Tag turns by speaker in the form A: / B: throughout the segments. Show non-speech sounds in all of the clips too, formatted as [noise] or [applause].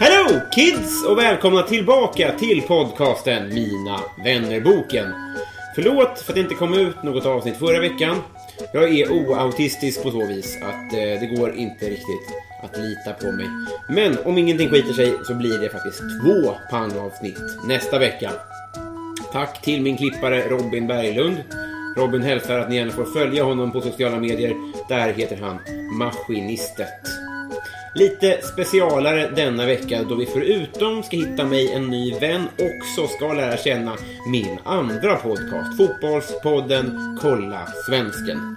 A: Hello kids och välkomna tillbaka till podcasten Mina vännerboken. Förlåt för att det inte kom ut något avsnitt förra veckan. Jag är oautistisk på så vis att eh, det går inte riktigt att lita på mig. Men om ingenting skiter sig så blir det faktiskt två pangavsnitt nästa vecka. Tack till min klippare Robin Berglund. Robin hälsar att ni gärna får följa honom på sociala medier. Där heter han Maskinistet. Lite specialare denna vecka då vi förutom ska hitta mig en ny vän också ska lära känna min andra podcast, Fotbollspodden Kolla Svensken.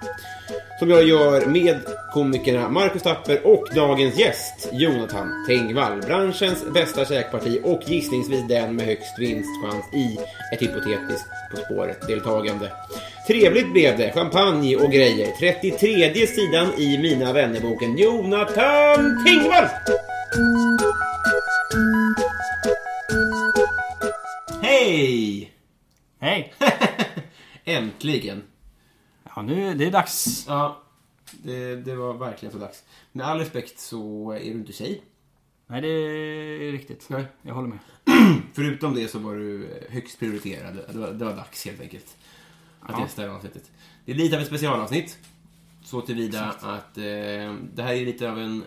A: Som jag gör med komikerna Marcus Tapper och dagens gäst Jonathan Tengvall. Branschens bästa käkparti och gissningsvis den med högst vinstchans i ett hypotetiskt På spåret-deltagande. Trevligt blev det, champagne och grejer. 33 sidan i Mina vännerboken Jonathan Tengvall! Hej! [laughs]
B: Hej!
A: Äntligen!
B: Ja, nu det är dags.
A: Ja, det, det var verkligen så dags. Med all respekt så är du inte tjej.
B: Nej, det är riktigt.
A: Nej.
B: Jag håller med.
A: Förutom det så var du högst prioriterad. Det var, det var dags helt enkelt. Att
B: Ja.
A: gästa det här avsnittet. Det är lite av ett specialavsnitt. Så tillvida att eh, det här är lite av en...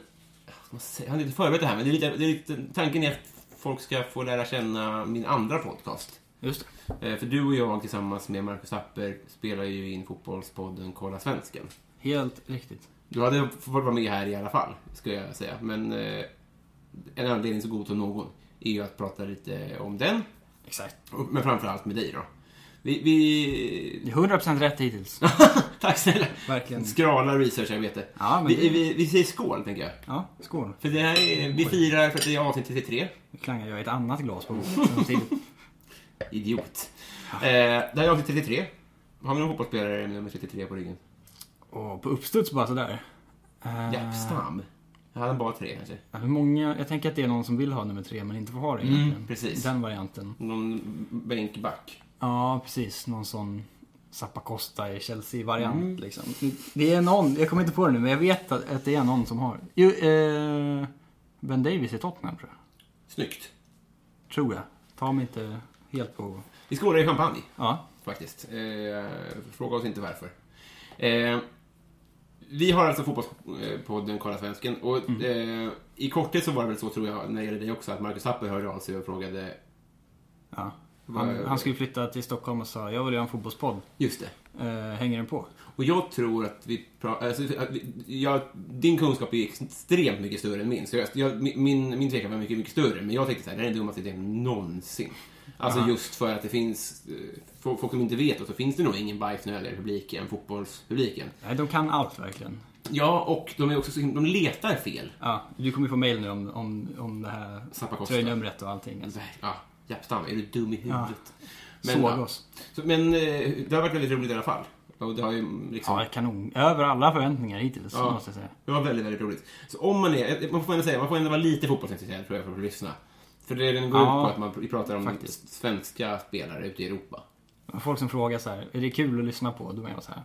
A: vad ska man säga? Jag hade inte förberett det här, men det är lite, det är lite, tanken är att folk ska få lära känna min andra podcast.
B: Just det.
A: Eh, för du och jag tillsammans med Marcus Apper spelar ju in fotbollspodden Kolla Svensken.
B: Helt riktigt.
A: Du hade fått vara med här i alla fall, skulle jag säga. Men eh, en anledning så god som någon är ju att prata lite om den,
B: Exakt.
A: och- men framförallt med dig då. Vi... vi...
B: Det är 100% rätt hittills.
A: [laughs] Tack snälla!
B: Verkligen.
A: Skrala researcharbete.
B: Ja, men
A: vi,
B: det-
A: vi, vi säger skål, tänker jag.
B: Ja, skål.
A: För det här är, vi firar för att det är avsnitt 33.
B: Nu klangar jag i ett annat glas på bordet
A: [laughs]
B: samtidigt.
A: Idiot. Eh, det här är avsnitt 33. Har vi någon fotbollsspelare med nummer 33 på ryggen?
B: Och på uppstuds bara sådär. Eh,
A: Jappstam. Jag hade bara tre, kanske.
B: Hur många, jag tänker att det är någon som vill ha nummer tre men inte får ha det
A: Mm,
B: egentligen.
A: precis.
B: Den varianten.
A: Någon bänkback.
B: Ja, precis. Någon sån Zappa Costa i Chelsea-variant
A: Mm.
B: liksom. Det är någon, jag kommer inte på det nu, men jag vet att, att det är någon som har. Jo, eh, ben Davis i Tottenham tror jag.
A: Snyggt.
B: Tror jag. Ta mig inte helt på...
A: Vi skålar i champagne.
B: Ja.
A: faktiskt. Eh, fråga oss inte varför. Eh, vi har alltså fotbollspodden Kolla Svensken och eh, i korthet så var det väl så tror jag när det gäller dig också att Marcus Tapper hörde av sig och frågade
B: ja.
A: Vad-
B: Han, han skulle flytta till Stockholm och sa jag vill göra en fotbollspodd.
A: just det.
B: Eh, hänger den på?
A: Och jag tror att vi pra- alltså, att vi- jag, din kunskap är extremt mycket större än min. Så jag, jag, min- min, min tvekan var mycket, mycket större. Men jag tänkte så här, det här är den dummaste idén någonsin. Alltså just för att det finns, eh, för folk som inte vet då, så finns det nog ingen bajs när det gäller publiken, fotbollspubliken.
B: Nej, de kan allt verkligen.
A: Ja, och de är också så himla- de letar fel.
B: Ja, du kommer ju få mail nu om, om, om det här
A: Zappa Costa.
B: tröjnumret och allting.
A: Alltså, Ja, Japstam, är du dum i huvudet? Men,
B: Såg
A: ja.
B: oss.
A: Så, men eh, det har varit väldigt roligt i alla fall. Och det har ju liksom...
B: Ja, kanon. Över alla förväntningar hittills,
A: Ja.
B: måste jag säga.
A: Det var väldigt, väldigt roligt. Så om man är... Man får ändå säga, man får ändå vara lite fotbollsintresserad tror jag för att lyssna. För det den går
B: Ja,
A: ut på att man pratar om
B: faktiskt.
A: svenska spelare ute i Europa.
B: Folk som frågar så här, är det kul att lyssna på? Då menar jag så här,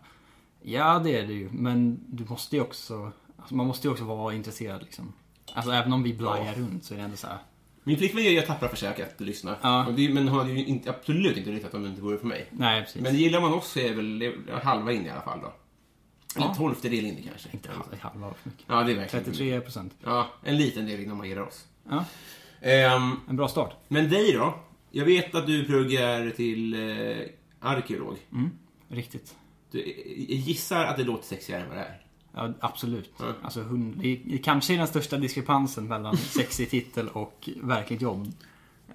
B: ja det är det ju, men du måste ju också, alltså, man måste ju också vara intresserad liksom. Alltså även om vi blajar runt så är det ändå så här,
A: Min flickvän gör ju tappra försök att lyssna.
B: Ja.
A: Och det, men hon hade ju inte, absolut inte lyssnat om det inte vore för mig.
B: nej precis.
A: Men gillar man oss så är väl det är halva in i alla fall då. Eller en tolftedel in i kanske.
B: Inte halv- halva var för mycket.
A: Ja, det är verkligen.
B: 33 procent.
A: Ja, en liten del innan man ger oss.
B: Ja,
A: Ehm,
B: en bra start.
A: men dig då? Jag vet att du pluggar till eh, arkeolog.
B: Riktigt.
A: Du, jag gissar att det låter sexigare än vad det är.
B: Ja, absolut. Alltså, hund, det är kanske är den största diskrepansen mellan sexig titel och verkligt jobb.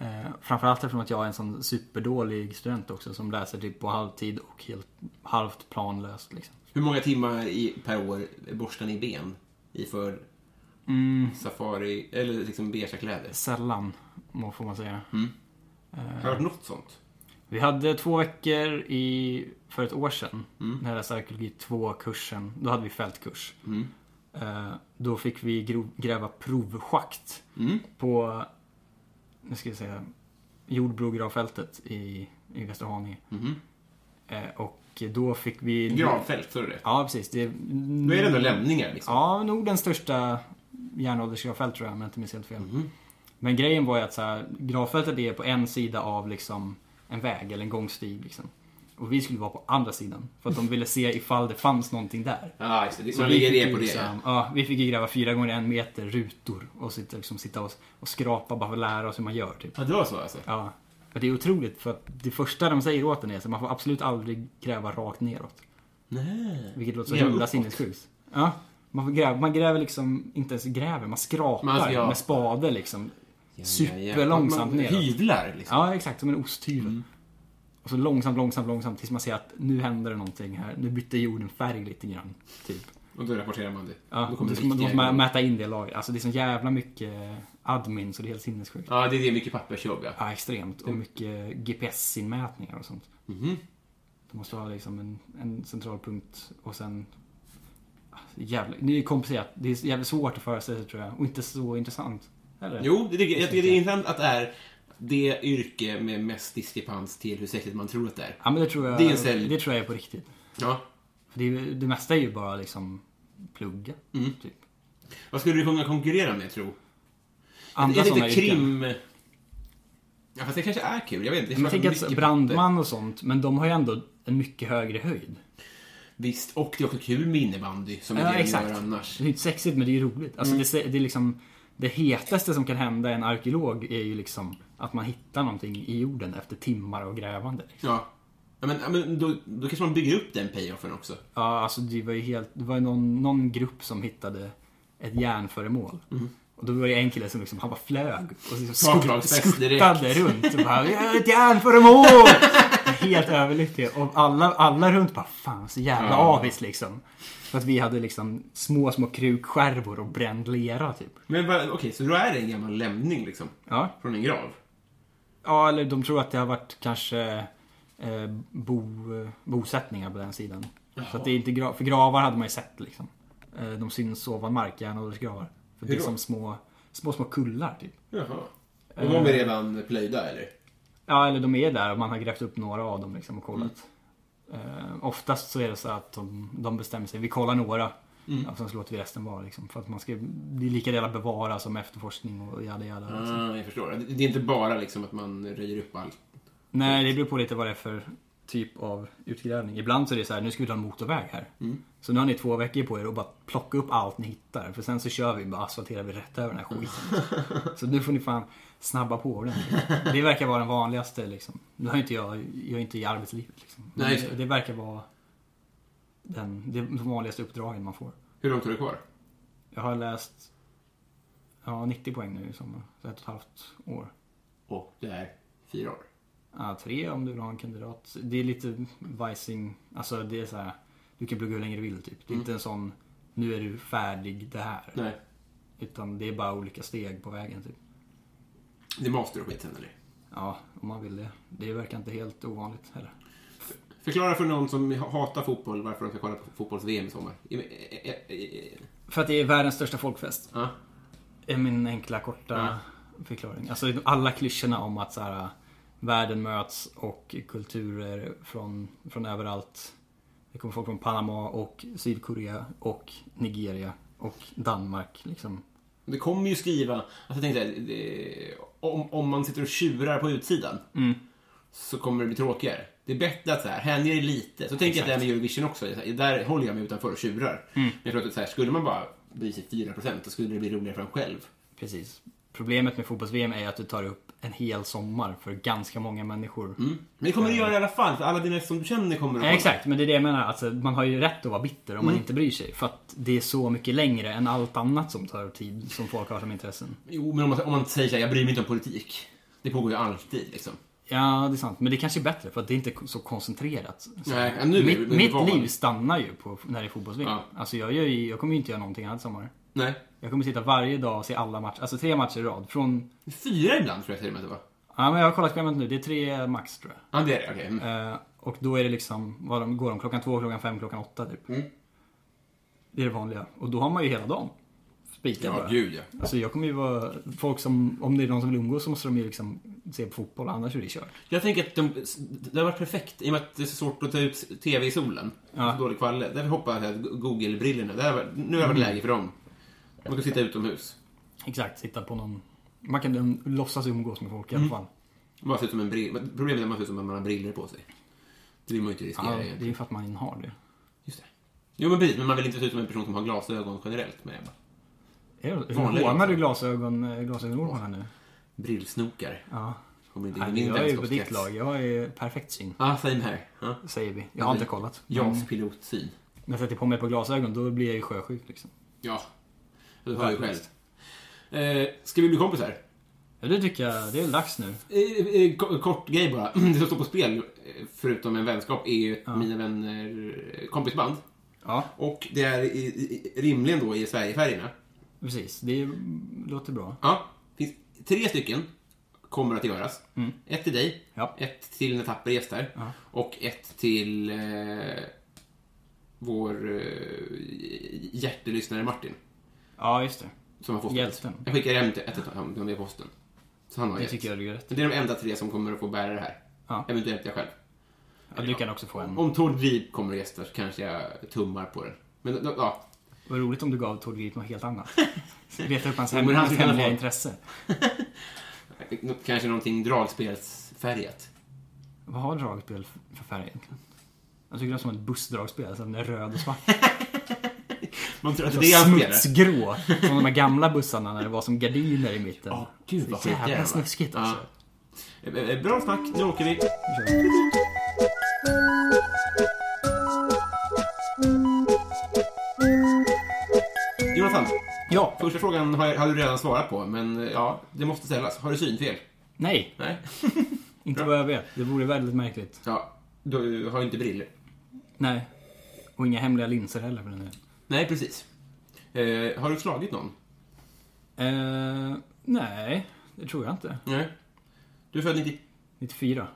B: Eh, framförallt eftersom att jag är en sån superdålig student också som läser typ på halvtid och helt halvt planlöst. Liksom.
A: Hur många timmar i, per år borstar ni ben i för
B: Mm.
A: safari, eller liksom beiga kläder?
B: Sällan, må- får man säga.
A: Har du hört något sånt?
B: Vi hade två veckor i, för ett år sedan,
A: Mm.
B: när jag läste arkeologi 2-kursen. Då hade vi fältkurs.
A: Mm.
B: Eh, då fick vi gro- gräva provschakt
A: Mm.
B: på, nu ska jag säga, jordbrogravfältet i, i Västerhaninge.
A: Mm.
B: Eh, och då fick vi...
A: Gravfält, så är det
B: Ja, Mm. precis. Det,
A: Då är det ändå lämningar liksom.
B: Ja, nog den största järnåldersgravfält tror jag, om jag inte minns helt fel.
A: Mhm.
B: Men grejen var ju att så här, gravfältet är på en sida av liksom en väg eller en gångstig. Liksom. Och vi skulle vara på andra sidan. För att de ville se ifall det fanns någonting där.
A: Ja, just det.
B: Så
A: Man
B: vi
A: ligger det
B: fick
A: på
B: ju
A: det.
B: liksom- Ja, vi fick ju gräva fyra gånger en meter rutor och sitta, liksom, sitta och, och skrapa bara för att lära oss hur man gör. Typ.
A: Ja, det var så alltså?
B: Ja. Och det är otroligt för att det första de säger åt en är att man får absolut aldrig gräva rakt neråt.
A: Nej.
B: Vilket låter så
A: Gräva
B: himla
A: uppåt.
B: sinnessjukt. Ja. Man, får gräva, man gräver liksom, inte ens gräver, man skrapar
A: Man skrapar.
B: med spade liksom.
A: Man-
B: Superlångsamt
A: man Mm.
B: neråt.
A: Hyvlar liksom.
B: Ja, exakt. Som en osthyvel. Och så långsamt, långsamt, långsamt tills man ser att nu händer det någonting här. Nu bytte jorden färg lite grann. Typ.
A: Och då rapporterar man det.
B: Ja,
A: då
B: då
A: kommer det
B: ska man, då måste
A: riktiga
B: man
A: igång.
B: mäta in det lagret. Alltså det är så jävla mycket admin så det är helt sinnessjukt.
A: Ja, det är det mycket pappersjobb ja.
B: Ja, extremt. Och mycket GPS-inmätningar och sånt.
A: Mhm.
B: Du måste ha liksom en, en central punkt och sen... Jävla, det är komplicerat. Det är jävligt svårt att föreställa sig tror jag. Och inte så intressant. Eller?
A: Jo, det tycker jag. Jag tycker det är intressant att det är det yrke med mest diskrepans till hur sexigt man tror att det är.
B: Ja, men det tror jag,
A: Det är en sälj.
B: det tror jag är på riktigt.
A: Ja.
B: För det, är, ju- det mesta är ju bara liksom plugga.
A: Mm.
B: Typ.
A: Vad skulle du kunna konkurrera med, tro?
B: Andra
A: jag
B: sådana
A: tänkte
B: yrken.
A: krim... Ja, fast det kanske är kul. Jag vet inte.
B: Men Jag tänker att så-
A: Mycket-
B: brandman och sånt, men de har ju ändå en mycket högre höjd.
A: Visst, och det är också kul med innebandy, som
B: Ja,
A: är det man
B: exakt.
A: gör annars. Mm.
B: Det är ju inte sexigt men det är ju roligt. Alltså det, se- det är liksom det hetaste som kan hända en arkeolog är ju liksom att man hittar någonting i jorden efter timmar av grävande.
A: Ja. ja men, ja, men då, då kanske man bygger upp den payoffen också.
B: Ja, alltså det var ju helt, det var ju någon, någon grupp som hittade ett järnföremål. Och då var det en kille som liksom, han bara flög och liksom skut-
A: Bakslagsfest
B: skuttade runt och bara "Jag har ett järnföremål! helt överlycklig. Och alla, alla runt bara fan så jävla
A: Ja.
B: avis liksom. För att vi hade liksom små, små krukskärvor och bränd lera typ.
A: Men va- okej, så då är det en gammal lämning liksom?
B: Ja.
A: Från en grav?
B: Ja, eller de tror att det har varit kanske eh, bo, eh, bosättningar på den sidan. Så att det är inte gra- för gravar hade man ju sett liksom. Eh, de syns ovan mark, järnåldersgravar. För det
A: Hur
B: är
A: då?
B: som små, små, små kullar typ.
A: Jaha. Och de är
B: Eh.
A: redan plöjda, eller?
B: Ja, eller de är där och man har grävt upp några av dem liksom och kollat. Eh, oftast så är det så att de, de bestämmer sig, vi kollar några.
A: Mm.
B: Och sen så låter vi resten vara liksom. För att man ska, det är lika delar bevara som efterforskning och jada jada. liksom.
A: Ah, jag förstår. Det det är inte bara liksom att man röjer upp allt.
B: Nej, det beror på lite vad det är för typ av utgrävning. Ibland så är det så här, nu ska vi dra en motorväg här.
A: Mm.
B: Så nu har ni två veckor på er att bara plocka upp allt ni hittar. För sen så kör vi, bara asfalterar vi rätt över den här
A: [laughs]
B: skiten. så nu får ni fan snabba på ordentligt. Det verkar vara den vanligaste liksom. Nu har ju inte jag, jag är inte i arbetslivet liksom. Men
A: Nej, just
B: det,
A: det.
B: det verkar vara den, det, de vanligaste uppdragen man får.
A: Hur långt har du kvar?
B: Jag har läst ja, 90 poäng nu i sommar. Så ett och ett halvt år.
A: Och det är fyra år.
B: Ja, tre om du vill ha en kandidat. Det är lite vajsing. Alltså det är så här. Du kan plugga hur länge du vill typ. Det är inte en sån nu är du färdig det här.
A: Nej.
B: Utan det är bara olika steg på vägen typ.
A: Det är master och skit sen, eller?
B: Ja, om man vill det. Det verkar inte helt ovanligt heller.
A: Förklara för någon som hatar fotboll varför de ska kolla på fotbolls-VM i sommar. I- i- i- i-
B: För att det är världens största folkfest.
A: Ja.
B: är min enkla korta förklaring. Alltså alla klyschorna om att så här, världen möts och kulturer från, från överallt. Det kommer folk från Panama och Sydkorea och Nigeria och Danmark. Liksom.
A: Det kommer ju skriva, alltså jag tänkte, här, Mm. det- om, om man sitter och tjurar på utsidan så kommer det bli tråkigare. Det är bättre att så här, hänga er lite. Så tänker jag att det här med Eurovision också, så här, där håller jag mig utanför och tjurar. Men jag tror att så här, skulle man bara bry sig 4% så skulle det bli roligare för en själv.
B: Precis. Problemet med fotbolls-VM är att du tar upp en hel sommar för ganska många människor.
A: Men det kommer du göra i alla fall, för alla dina som du känner kommer att
B: Ja, exakt, men det är det jag menar. Alltså, man har ju rätt att vara bitter om man inte bryr sig. För att det är så mycket längre än allt annat som tar tid, som folk har som intressen.
A: Jo, men om man, om man säger så här, jag bryr mig inte om politik. Det pågår ju alltid liksom.
B: Ja, det är sant. Men det kanske är bättre för att det är inte så koncentrerat. Så
A: Nej, ja, nu är det-
B: mitt
A: nu är det
B: mitt
A: val.
B: liv stannar ju på när det är fotbolls-VM.
A: Ja.
B: Alltså, jag, gör ju, jag kommer ju inte göra någonting annat i sommar.
A: Nej.
B: Jag kommer sitta varje dag och se alla matcher, alltså tre matcher i rad. Från,
A: Fyra ibland tror jag till och med att det var.
B: ja men jag har kollat schemat nu, det är tre max tror jag.
A: Ja, det är det. Okej. Mm.
B: Eh, och då är det liksom, vad de, går de klockan två, klockan fem, klockan åtta typ.
A: Mm.
B: Det är det vanliga. Och då har man ju hela dagen.
A: Ja,
B: Spikad bara.
A: gud ja.
B: Alltså jag kommer ju vara, folk som, om det är någon som vill umgås så måste de ju liksom se på fotboll, annars är det kört.
A: Jag tänker att de, det har varit perfekt i och med att det är så svårt att ta ut TV i solen. Så dålig kvalle. Därför hoppar jag att Google-brillorna. Det här var- Nu har det varit läge för dem. De kan sitta utomhus.
B: Exakt, sitta på någon, man kan um, låtsas umgås med folk i alla fall.
A: Bara se ut som en brill. men Problemet är att man ser ut som att man har briller på sig. Det vill man ju inte riskera
B: Ja, det är
A: egentligen.
B: ju för att man har det.
A: Just det. Jo, men precis. Men man vill inte se ut som en person som har glasögon generellt. Med
B: Är det-
A: Vanliga
B: Hånar du glasögon, eh, glasögonormarna nu?
A: brillsnokare.
B: Ja.
A: Kommer inte in i
B: Nej,
A: min
B: jag är ju på
A: vänskapskrets.
B: ditt lag, jag är perfekt syn.
A: Ja, ah, same här. Ja.
B: Säger vi. Jag har inte kollat. Men
A: JAS pilotsyn.
B: när jag sätter på mig på glasögon då blir jag ju sjösjuk liksom.
A: Ja. Du hör ju själv. Eh, ska vi bli kompisar?
B: Ja, det tycker jag. Det är väl dags nu.
A: Eh, eh, ko- Kort grej bara. [clears throat] Det som står på spel, eh, förutom en vänskap, är ju Mina Vänner eh, kompisband.
B: Ja,
A: Och det är i, i, rimligen då i Sverigefärgerna.
B: precis. Det är- låter bra.
A: Ja, finns tre stycken kommer att göras. Ett till dig,
B: Mm. Ja.
A: ett till när Tapper gästar och ett till eh, vår eh, hjärtelyssnare Martin.
B: Ja, just det.
A: Som har fått
B: Hjälten.
A: ett. Jag skickar hem till ett av dem via posten. Så han har
B: Det
A: ett.
B: tycker jag du gör rätt.
A: Men det är de enda tre som kommer att få bära det här.
B: Ja. Mm.
A: Eventuellt jag själv.
B: Ja, du kan också få en.
A: Om Tord Grip kommer och gästar så kanske jag tummar på den. Men då- ja,
B: Vad roligt om du gav Tord Grip något helt annat. Leta upp hans,
A: Jo,
B: hem,
A: men han
B: hans
A: skulle kunna
B: hemliga
A: få-
B: intresse.
A: kanske någonting dragspelsfärgat.
B: Vad har dragspel för färg egentligen? Jag tycker det är som ett bussdragspel, alltså den är röd och svart.
A: Man tror att [laughs] det är han spelar.
B: Smutsgrå. Som de här gamla bussarna när det var som gardiner i mitten.
A: Ja, gud vad
B: Så
A: skitiga de
B: jävla
A: var.
B: snuskigt alltså.
A: Ja. Eh, eh, Bra snack, nu åker vi. Jonathan,
B: Ja.
A: första frågan har, jag, har du redan svarat på, men eh, ja, det måste ställas. Har du synfel?
B: Nej,
A: Nej.
B: inte vad jag vet. Det vore väldigt märkligt.
A: [laughs] Ja, du har ju inte briller.
B: Nej. Och inga hemliga linser heller för den delen.
A: Nej, precis. Eh, har du slagit någon?
B: Eh, nej, det tror jag inte.
A: Nej. Du är född 90...
B: 94.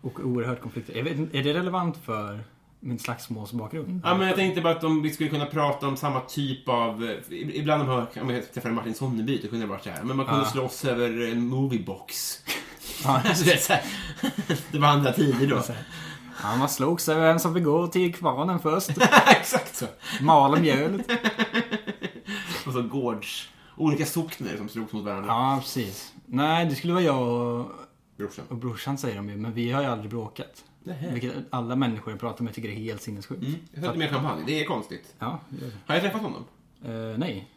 B: Och oerhört konflikter. Jag vet, inte, är det relevant för min slagsmålsbakgrund?
A: Ja, men jag tänkte bara att om vi skulle kunna prata om samma typ av... eh, Ibland om jag, om jag träffade Martin Sonneby, då kunde det varit så här. Men man kunde
B: Ja.
A: slåss över en moviebox.
B: Ja.
A: [laughs] Alltså, det, är så här, det var andra tider då. [laughs]
B: Ja, man slogs över vem som fick gå till kvarnen först.
A: Exakt så.
B: Mala mjölet.
A: Och så gårds... Olika sockner som slogs mot varandra.
B: Ja, precis. Nej, det skulle vara jag och,
A: Brorsan.
B: och brorsan säger de ju, men vi har ju aldrig bråkat.
A: Nähä.
B: Vilket alla människor jag pratar med tycker är helt sinnessjukt.
A: Mm. Jag sätter mer champagne. Det är konstigt.
B: Ja, Mm. det gör det.
A: Har jag träffat honom?
B: Eh, nej.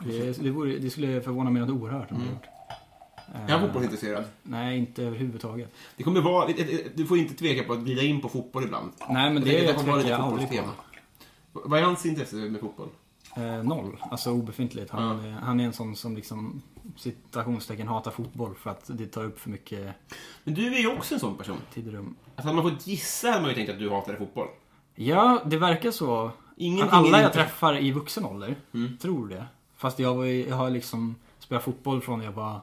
B: Det, det, vore, det skulle förvåna mig något oerhört om jag gjort.
A: Jag
B: Eh.
A: är fotbollsintresserad.
B: Nej, inte överhuvudtaget.
A: Det kommer vara... ett- ett- ett- Du får inte tveka på att glida in på fotboll ibland.
B: Nej, men
A: Jag
B: det
A: tänker att kommer vara
B: tvekar
A: lite
B: jag aldrig på.
A: fotbollstema. Vad är hans intresse med fotboll?
B: Eh, noll. Alltså obefintligt. Han, eh, han är en sån som liksom citationstecken hatar fotboll för att det tar upp för mycket
A: Men du är ju också en sån person.
B: tid och rum.
A: Alltså, hade man fått gissa hade man ju tänkt att du hatade fotboll.
B: Ja, det verkar så.
A: Ingenting
B: att alla
A: är
B: jag
A: inte- Mm.
B: träffar i vuxen ålder tror det. Fast jag, var, ju- jag har liksom spelat fotboll från jag var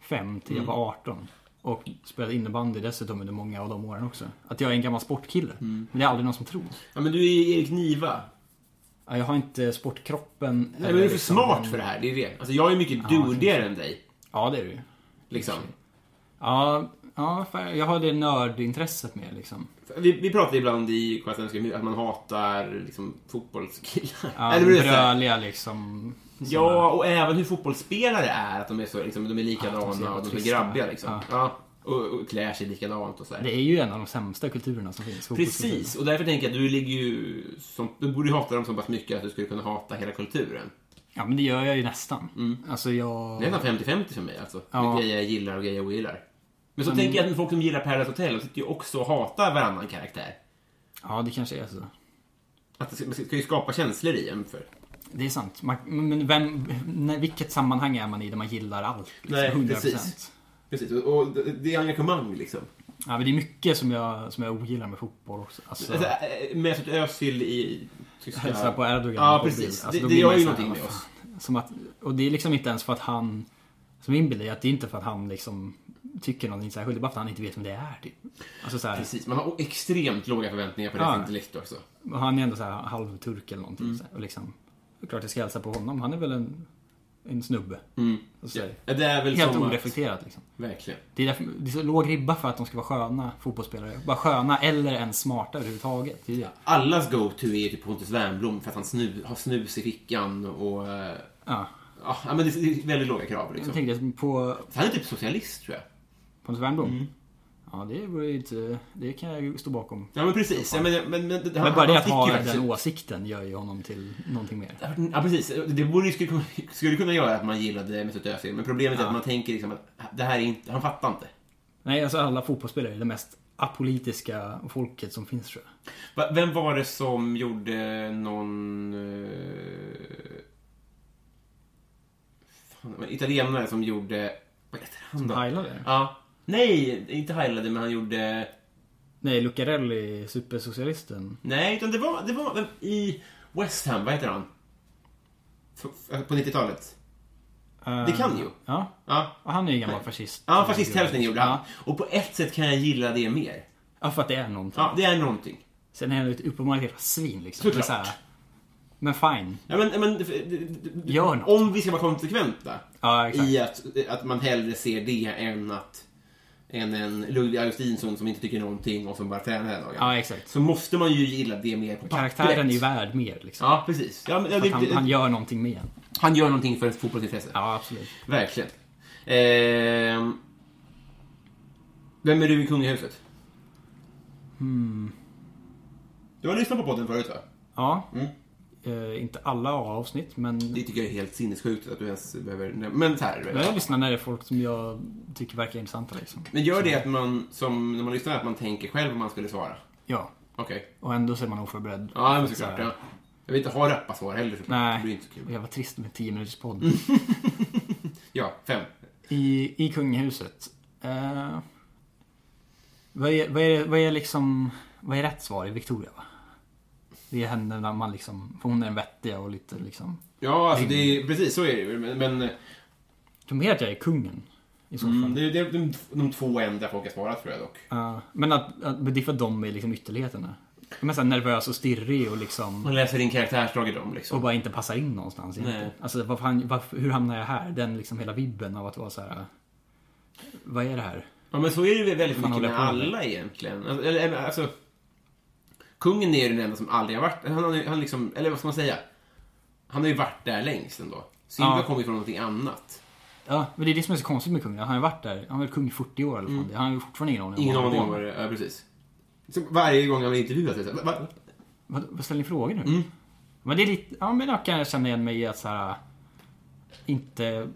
B: 5 till
A: Mm.
B: jag var 18. Och spelat innebandy dessutom under många av de åren också. Att jag är en gammal sportkille.
A: Mm.
B: Men det är aldrig någon som tror.
A: Ja, men du är ju Erik Niva.
B: Ja, Jag har inte sportkroppen. liksom-
A: Nej, men du är för smart för det här. Det är det. Alltså, jag är mycket dudigare än dig.
B: Ja, det är du ju.
A: Liksom.
B: Ja, ja, för jag har det nördintresset med liksom.
A: Vi, vi pratar ibland i Svenska My- att man hatar liksom, fotbollskillar.
B: Ja,
A: Eller hur det är så här.
B: bröliga liksom.
A: Ja, och även hur fotbollsspelare är. Att de är så liksom, de är likadana
B: Ja, de ser
A: och de är
B: trista.
A: grabbiga. Liksom. Ja. Och, och klär sig likadant och sådär.
B: Det är ju en av de sämsta kulturerna som finns. fotbollskulturen.
A: Precis, och därför tänker jag att du ligger ju... Som, du borde ju hata dem så pass mycket att du skulle kunna hata hela kulturen.
B: Ja, men det gör jag ju nästan. Alltså jag...
A: Mm. Det är nästan 50-50 för mig alltså.
B: Ja.
A: Vilka grejer jag gillar och grejer jag ogillar. Men så tänker jag att folk som gillar Paradise Hotel sitter ju också och hatar varannan karaktär.
B: Ja, det kanske är så.
A: Att det ska, man ska ju skapa känslor i en för.
B: Det är sant. Man, men vem, när, vilket sammanhang är man i där man gillar allt? Liksom,
A: Nej,
B: 100%.
A: precis. Precis, och, och det- det är engagemang liksom.
B: Ja, men det är mycket som jag, som jag ogillar med fotboll också. Alltså,
A: Alltså, äh, med ett Özil i tyska...
B: hälsa på Erdogan.
A: Ja,
B: på bild.
A: precis.
B: Alltså,
A: Det-
B: då
A: det
B: blir man
A: gör ju
B: så här,
A: någonting med
B: "Vad fan?" Som att, och det är liksom inte ens för att han... Som min bild är att det är inte för att han liksom tycker någonting särskilt. Det är bara för att han inte vet vem det är. Typ. Alltså, så här,
A: Precis, man har extremt låga förväntningar på deras
B: Ja.
A: intellekt också.
B: och han är ändå så här halvturk eller någonting.
A: Mm.
B: Så här, och liksom, det är klart jag ska hälsa på honom. Han är väl en, en snubbe. Och så,
A: Mm. Ja,
B: här,
A: det är väl
B: Helt
A: som att-
B: oreflekterat liksom.
A: Verkligen.
B: Det är, därför, det är så låg ribba för att de ska vara sköna fotbollsspelare. Bara sköna eller ens smarta överhuvudtaget. Det är det.
A: Allas go-to är ju typ Pontus Wernbloom för att han snu, har snus i fickan och... eh,
B: Ja.
A: Ja, men det är det är väldigt låga krav liksom.
B: Jag tänkte på
A: Han är typ socialist tror jag.
B: Pontus Wernbloom.
A: Mm.
B: Ja, det vore ju inte... Det kan jag ju stå bakom.
A: Ja men precis. Ja, men, men, men, men
B: Men bara det att
A: sticker
B: ha
A: faktiskt
B: den
A: ut.
B: åsikten gör ju honom till någonting mer.
A: Ja precis. Det borde, ju- skulle, kunna- skulle kunna göra att man gillade Mesut Özil. Men problemet är
B: Ja.
A: att man tänker liksom att det här är inte, han fattar inte.
B: Nej, alltså alla fotbollsspelare är det mest apolitiska folket som finns tror jag.
A: Va- Vem var det som gjorde någon... eh, Fan, det var en italienare som gjorde... Vad heter han då?
B: Heilade?
A: Ja. Nej, inte Heilade, men han gjorde...
B: Nej, Lucarelli, supersocialisten.
A: Nej, utan det var, det var vem, i West Ham, vad heter han? F- f- På 90-talet.
B: Eh,
A: Det kan ju.
B: Ja.
A: Ja.
B: Och han är ju gammal fascist.
A: Ja, fascisthälften gjorde han.
B: Ja.
A: Och på ett sätt kan jag gilla det mer.
B: Ja, för att det är någonting.
A: Ja, det är någonting.
B: Sen är han ju ett uppenbarligen jävla svin liksom.
A: Såklart.
B: Men, så här, men fine.
A: Ja, men, men, det- det- det-
B: Gör något.
A: Om vi ska vara konsekventa
B: Ja, exakt.
A: i att, att man hellre ser det än att än en Ludvig Augustinsson som inte tycker någonting och som bara tränar hela dagen.
B: Ja, exakt.
A: Så måste man ju gilla det mer på pappret.
B: Karaktären är ju värd mer liksom.
A: Ja, precis. Ja, men, ja, det,
B: Att han, han
A: han,
B: gör någonting med en.
A: gör någonting för ett fotbollsintresse.
B: Ja, absolut.
A: Verkligen. Ehm, vem är du i kungahuset? Hmm. Du har lyssnat på podden förut, va?
B: Ja. Eh, inte alla avsnitt, men
A: Mm. Det tycker jag är helt sinnessjukt att du ens behöver... Men så här,
B: men jag lyssnar när det är folk som jag tycker verkar intressanta liksom.
A: Men gör det att man, som när man lyssnar, att man tänker själv om man skulle svara?
B: Ja.
A: Okej.
B: Och ändå så är man oförberedd.
A: Ja, men
B: Så
A: såklart.
B: här,
A: Ja. Jag vill inte ha rappa svar heller. Så Det blir
B: Nej.
A: inte så
B: Och
A: kul. Mm.
B: jag var trist med 10 minuters podd.
A: Ja, fem.
B: I, I kungahuset. Eh, vad, är, vad, är, vad är liksom... Vad är rätt svar i Victoria va? Det är henne när man liksom... För hon är den vettiga och lite liksom...
A: Ja, alltså det är, precis så är det ju. Men, men
B: Jag tror mer att jag är kungen. I så fall.
A: mm, det, det är de, de två enda folk har svarat tror jag dock.
B: Ja, men att, att, men det är för att de är liksom ytterligheterna. Men så här nervös och stirrig och liksom
A: Man läser in karaktärsdrag i dem liksom.
B: och bara inte passar in någonstans egentligen.
A: Nej.
B: Alltså vad fan, varför, hur hamnar jag här? Den liksom hela vibben av att vara så här. Vad är det här?
A: Ja, men så är det väl väldigt
B: Fan,
A: mycket
B: håller
A: med
B: jag på med?
A: alla egentligen. Alltså, eller, eller, alltså, kungen är ju den enda som aldrig har varit... Han, har ju- han liksom, eller vad ska man säga? Han har ju varit där längst ändå. Simba
B: Ja.
A: kommer ju från någonting annat.
B: Ja, men det är det som är så konstigt med kungen. Han har ju varit där. Han har varit kung i 40 år eller mm. Han har ju fortfarande ingen aning om
A: Ingen
B: vad han
A: aning
B: håller
A: om vad
B: på med.
A: det är. Ja, precis. Så varje gång han blir intervjuad så är det Mm. så här, "Va?
B: Vad, vad ställer ni frågor nu? Men det är lite, ja men jag kan känna igen mig i att så här inte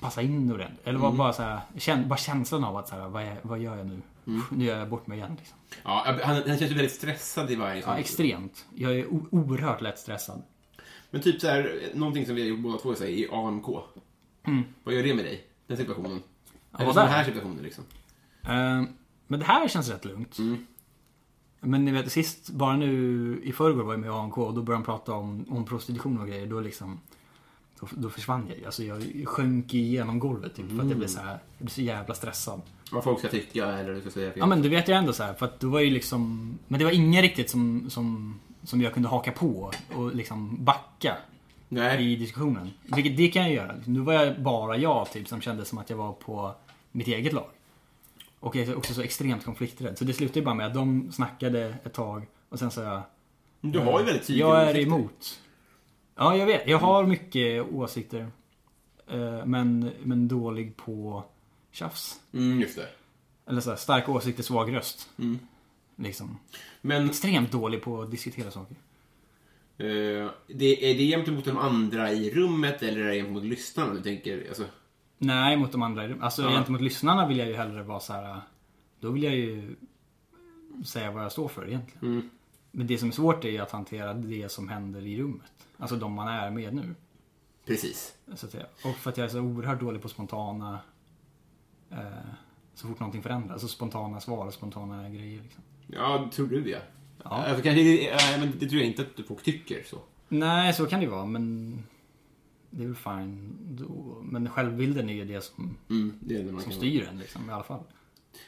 B: passa in ordentligt. Eller
A: Mm.
B: bara, bara, så här, kän, bara känslan av att så här, vad, är, vad gör jag nu?
A: Mm.
B: Nu gör jag bort mig igen. Liksom.
A: Ja, han, han känns ju väldigt stressad i varje
B: Ja,
A: sån.
B: extremt. Jag är o- oerhört lätt stressad.
A: Men typ så här, någonting som vi har gjort båda två är så här, i AMK. Vad gör det med dig? Den situationen? Eller
B: Mm. vad
A: den
B: där?
A: här situationen liksom.
B: Eh, men det här känns rätt lugnt. Men ni vet, sist, bara nu i förrgår var jag med i ANK och då började de prata om, om prostitution och grejer. Då liksom, då, då försvann jag ju. Alltså jag sjönk igenom golvet typ, för att jag blev så här, jag blev så jävla stressad.
A: Vad folk ska tycka eller vad du ska säga.
B: Ja men det vet jag ändå så här, för att då var ju liksom, men det var ingen riktigt som, som, som jag kunde haka på och liksom backa. i
A: Nej.
B: diskussionen. Vilket det kan jag göra. Nu var jag bara jag typ som kände som att jag var på mitt eget lag. Och jag är också så extremt konflikträdd. Så det slutade ju bara med att de snackade ett tag och sen sa jag
A: Du har ju väldigt tydliga
B: Jag är
A: åsikter.
B: emot. Ja, jag vet. Jag har mycket åsikter. Eh, Men, men dålig på tjafs.
A: Mm, just det.
B: Eller så här, starka åsikter, svag röst.
A: Mm.
B: Liksom.
A: Men
B: Extremt dålig på att diskutera saker.
A: eh, det, är det gentemot de andra i rummet eller är det gentemot lyssnarna du tänker? Alltså,
B: Nej, mot de andra i rummet. Alltså
A: Ja.
B: gentemot lyssnarna vill jag ju hellre vara så här. äh, Då vill jag ju säga vad jag står för egentligen.
A: Mm.
B: Men det som är svårt är ju att hantera det som händer i rummet. Alltså de man är med nu.
A: precis.
B: Så att säga. Och för att jag är så oerhört dålig på spontana... Eh, så fort någonting förändras. Så spontana svar och spontana grejer. Liksom.
A: Ja, tror du ja.
B: Ja.
A: Alltså, kanske, nej, men det tror jag inte att du folk tycker så.
B: Nej, så kan det ju vara, men... Det är väl fine då. Men självbilden är ju det som,
A: Mm, det är det man
B: som
A: kan-
B: styr en liksom, i alla fall.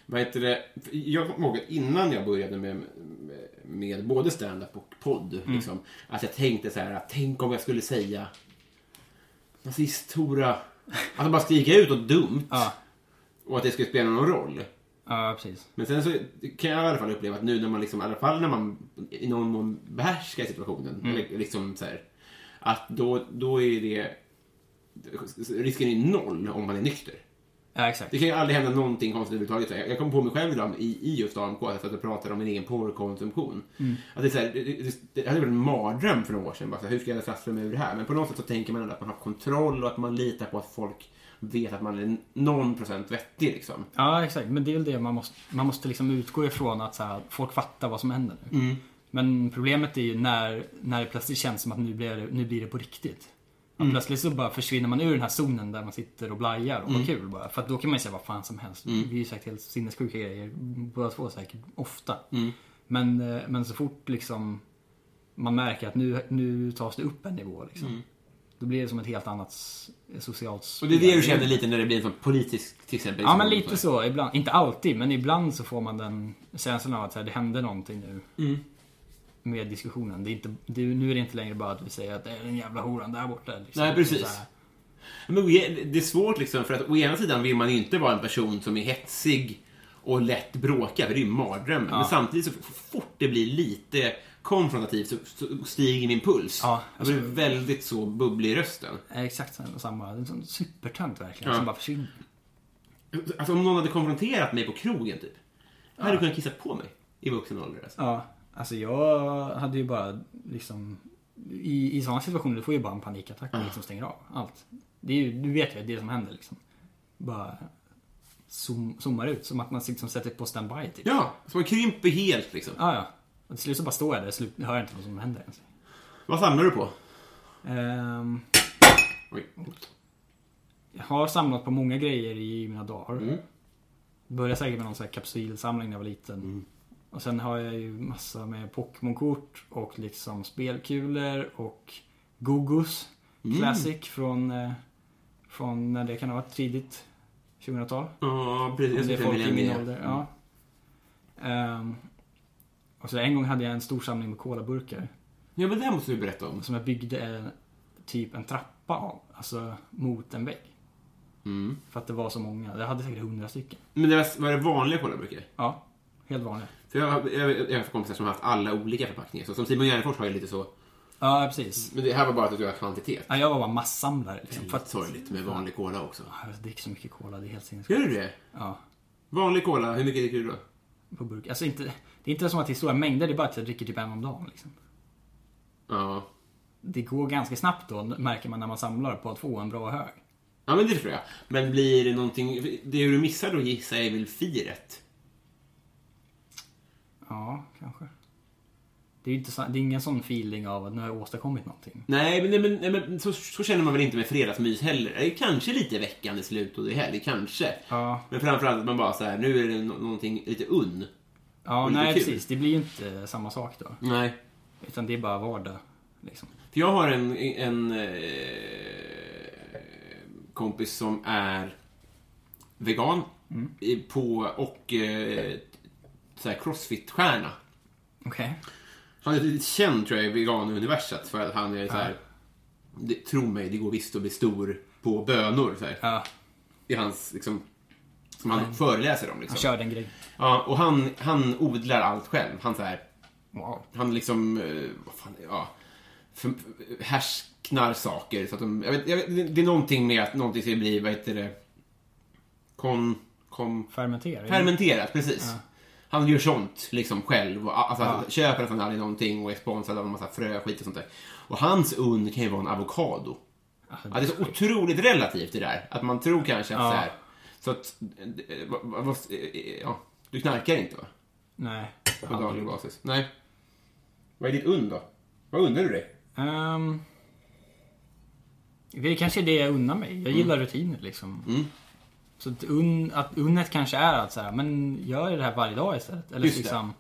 A: Vad heter det? För Jag kommer ihåg att innan jag började med, med, med både stand-up och podd. Liksom, att jag tänkte så här, att tänk om jag skulle säga nazist-Tora. Alltså bara skrika ut något dumt.
B: Ja,
A: Och att det skulle spela någon roll.
B: ja precis.
A: Men sen så kan jag i alla fall uppleva att nu när man liksom, i alla fall när man i någon mån behärskar situationen. Eller liksom så här, att då, då är det risken är noll om man är nykter.
B: Ja, exakt.
A: Det kan ju aldrig hända någonting konstigt överhuvudtaget. Jag- Jag kom på mig själv idag i, i just AMK, att jag satt och pratade om min egen porrkonsumtion. Att det, är så här, det, det, det hade varit en mardröm för några år sedan. Bara, så här, hur ska jag trassla mig ur det här? Men på något sätt så tänker man ändå att man har kontroll och att man litar på att folk vet att man är någon procent vettig. Liksom.
B: Ja, exakt. Men det är väl det man måste, man måste liksom utgå ifrån att så här, folk fattar vad som händer nu.
A: Mm.
B: Men problemet är ju när, när det plötsligt känns som att nu blir det, nu blir det på riktigt. Att
A: Mm.
B: Plötsligt så bara försvinner man ur den här zonen där man sitter och blajar och
A: Mm.
B: har kul bara. För att då kan man ju säga vad fan som helst. Vi har ju sagt helt sinnessjuka grejer båda två säkert, ofta.
A: Mm.
B: Men, eh, men så fort liksom man märker att nu, nu tas det upp en nivå liksom. Då blir det som ett helt annat s- socialt
A: Mm. Och det är det du
B: spel.
A: känner lite när det blir en sån politisk, till exempel. liksom,
B: Ja men lite så, ibland. Inte alltid, men ibland så får man den känslan av att så här, det hände någonting nu. Med diskussionen. Det är inte, det, är- nu är det inte längre bara att vi säger att det är den jävla horan där borta. Liksom.
A: Nej, precis.
B: Det är så här,
A: Men å e- det är svårt liksom, för att å ena sidan vill man ju inte vara en person som är hetsig och lätt bråkar, för det är ju mardrömmen. Men samtidigt så f- fort det blir lite konfrontativt så, så stiger min puls.
B: Ja, alltså-
A: jag blir väldigt så bubblig i rösten.
B: är exakt samma- samma. Det är en sån supertönt verkligen
A: Ja.
B: som bara försvinner.
A: Alltså om någon hade konfronterat mig på krogen typ. Jag hade kunnat kissa på mig i vuxen ålder. Alltså.
B: Ja, alltså jag hade ju bara liksom i, i sådana situationer, du får ju bara en panikattack och liksom stänger av allt. Det är ju, du vet ju det som händer liksom. Bara zoom, zoomar ut, som att man liksom sätter på standby typ.
A: Ja, så man krymper helt liksom.
B: Ja, Ah, ja. Och till slut så bara står jag där och slut, hör inte vad som händer ens.
A: Vad samlar du på?
B: Ehm,
A: Oj.
B: jag har samlat på många grejer i mina dagar. Började säkert med någon sån här kapsylsamling när jag var liten. Och sen har jag ju massa med Pokémon-kort och liksom spelkulor och Gogos Classic från, eh, från när det kan ha varit tidigt 2000-tal.
A: Ja, precis.
B: Om det är
A: Jag
B: folk
A: vill
B: i
A: ha
B: min
A: med.
B: ålder. Ja. Ehm, och så en gång hade jag en stor samling med colaburkar.
A: Ja, men det här måste du berätta om.
B: Som jag byggde en, typ en trappa av. Alltså mot en vägg.
A: Mm.
B: För att det var så många. Jag hade säkert hundra stycken.
A: Men det var, var det vanliga kolaburkar?
B: Ja, helt vanliga.
A: För jag, har- jag, jag, jag har kompisar som har haft alla olika förpackningar. Så som Simon Gärdenfors har ju lite så.
B: Ja, precis.
A: Men det här var bara att du skulle ha kvantitet.
B: Mm. Ja, jag var bara massamlare. Liksom, för
A: Väldigt
B: att,
A: sorgligt med vanlig cola också.
B: Ja, Jag dricker så mycket cola, det är helt sinnessjukt.
A: Gör du det?
B: Ja,
A: Vanlig cola, hur mycket dricker du då?
B: på burk. Alltså inte, det är inte som att det är stora mängder, det är bara att jag dricker typ en om dagen. Liksom.
A: Ja.
B: Det går ganska snabbt då, märker man när man samlar på att få en bra hög.
A: Ja, men det tror jag. Men blir det någonting... Det du missar då gissar jag är väl firet?
B: Ja, kanske. Det är ju inte, så- det är ingen sån feeling av att nu har jag åstadkommit någonting.
A: Nej, men, nej, men, nej, men så, så känner man väl inte med fredagsmys heller. Det är kanske lite veckan i slut och det är helg, kanske.
B: Ja.
A: Men framförallt att man bara så här, nu är det nå- någonting lite unn.
B: Ja,
A: Och lite
B: nej
A: kul.
B: precis. Det blir ju inte samma sak då.
A: Nej.
B: Utan det är bara vardag. Liksom.
A: För jag har en, en eh, kompis som är vegan
B: Mm.
A: i- på, och eh, så här crossfit-stjärna.
B: Okej.
A: Han är lite känd tror jag i veganuniverset för att han är så här, det, tro mig, det går visst att bli stor på bönor. Så här,
B: Ja,
A: I hans, liksom, som han föreläser om.
B: han
A: Liksom.
B: körde en grej.
A: Ja, och han, han odlar allt själv. Han så här,
B: Wow.
A: Han liksom, eh, vad fan, ja, för, härsknar saker. Så att de, jag vet, jag vet, det är någonting med att någonting ska bli, vad heter det, kon, kom...
B: Fermentera.
A: Fermenterat, precis.
B: Ja.
A: Han gör sånt liksom själv. Och, alltså,
B: Ja.
A: han Köper nästan aldrig någonting och är sponsrad av en massa fröskit och sånt där. Och hans und kan ju vara en avokado.
B: Alltså,
A: Ja, det är så otroligt relativt det där. Att man tror kanske att
B: Ja.
A: så här... Så att... eh, vad- vad- vad- eh, Ja, du knarkar inte va?
B: Nej.
A: På daglig basis. Nej. Vad är ditt und då? Vad undrar du dig?
B: Ehm, det är kanske är det jag unnar mig.
A: Mm.
B: Jag gillar rutiner liksom. Så att, un, att unnet kanske är att så här, men gör det här varje dag istället. Eller
A: Just det.
B: liksom,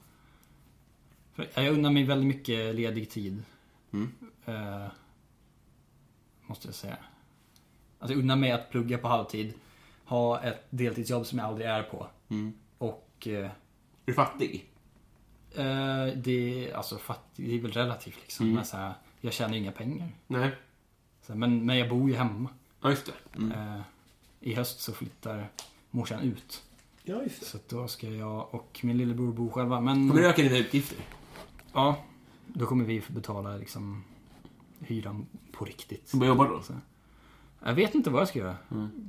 B: för jag unnar mig väldigt mycket ledig tid.
A: Mm.
B: Eh, måste jag säga. Att jag unnar mig att plugga på halvtid. Ha ett deltidsjobb som jag aldrig är på.
A: Mm.
B: Och eh,
A: Är du fattig?
B: eh, det, är- alltså, fatt, det är väl relativt liksom.
A: Mm.
B: Men så här, jag tjänar ju inga pengar.
A: Nej.
B: Så, här, men, men jag bor ju hemma.
A: Ja, just det. Mm.
B: Eh, I höst så flyttar morsan ut.
A: Ja, just
B: Så att då ska jag och min lillebror bo själva. Men
A: Kommer du öka dina utgifter?
B: ja, då kommer vi få betala liksom hyran på riktigt.
A: Du börjar jobba då?
B: Så. Jag vet inte vad jag ska göra.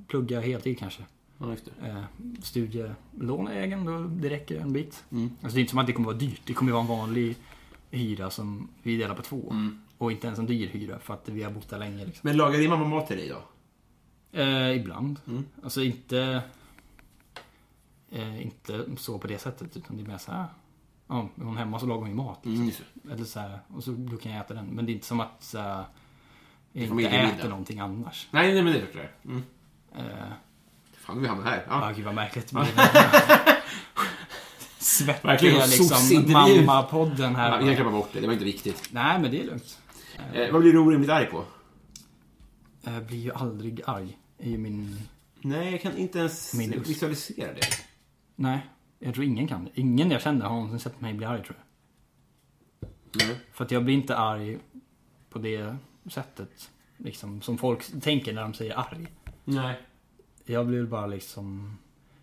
B: Plugga heltid kanske.
A: Ja, just det.
B: Eh, studielån är egen, då det räcker en bit. Alltså det är inte som att det kommer vara dyrt. Det kommer vara en vanlig hyra som vi delar på två. Och inte ens en dyr hyra för att vi har bott där länge. Liksom.
A: Men lagar din mamma mat till dig då?
B: Eh, ibland.
A: Mm.
B: Alltså inte... Eh, inte så på det sättet utan det är mer så här. Ja, är hon hemma så lagar hon ju mat. Liksom.
A: Mm, just
B: Eller så här, och så, då kan jag äta den. Men det är inte som att så här, jag inte
A: familjemiddag.
B: äter någonting annars.
A: Nej, nej, men det förstår jag. Mm.
B: Eh,
A: Fan, vi hamnar här.
B: ja,
A: Ja.
B: gud vad märkligt. Men- [laughs] Svettiga
A: Ah. Verkligen,
B: liksom
A: soc-intervju.
B: mammapodden
A: Ja,
B: här.
A: jag klappar bort det, det var inte viktigt.
B: Nej men det är lugnt.
A: Eh, vad blir du orimligt arg på?
B: Jag blir ju aldrig arg. i min...
A: Nej, jag kan inte ens
B: Minus.
A: visualisera det.
B: Nej, jag tror ingen kan det. Ingen jag känner har någonsin sett mig bli arg tror jag.
A: Nej.
B: För att jag blir inte arg på det sättet. Liksom, som folk tänker när de säger arg.
A: Nej.
B: Jag blir bara liksom...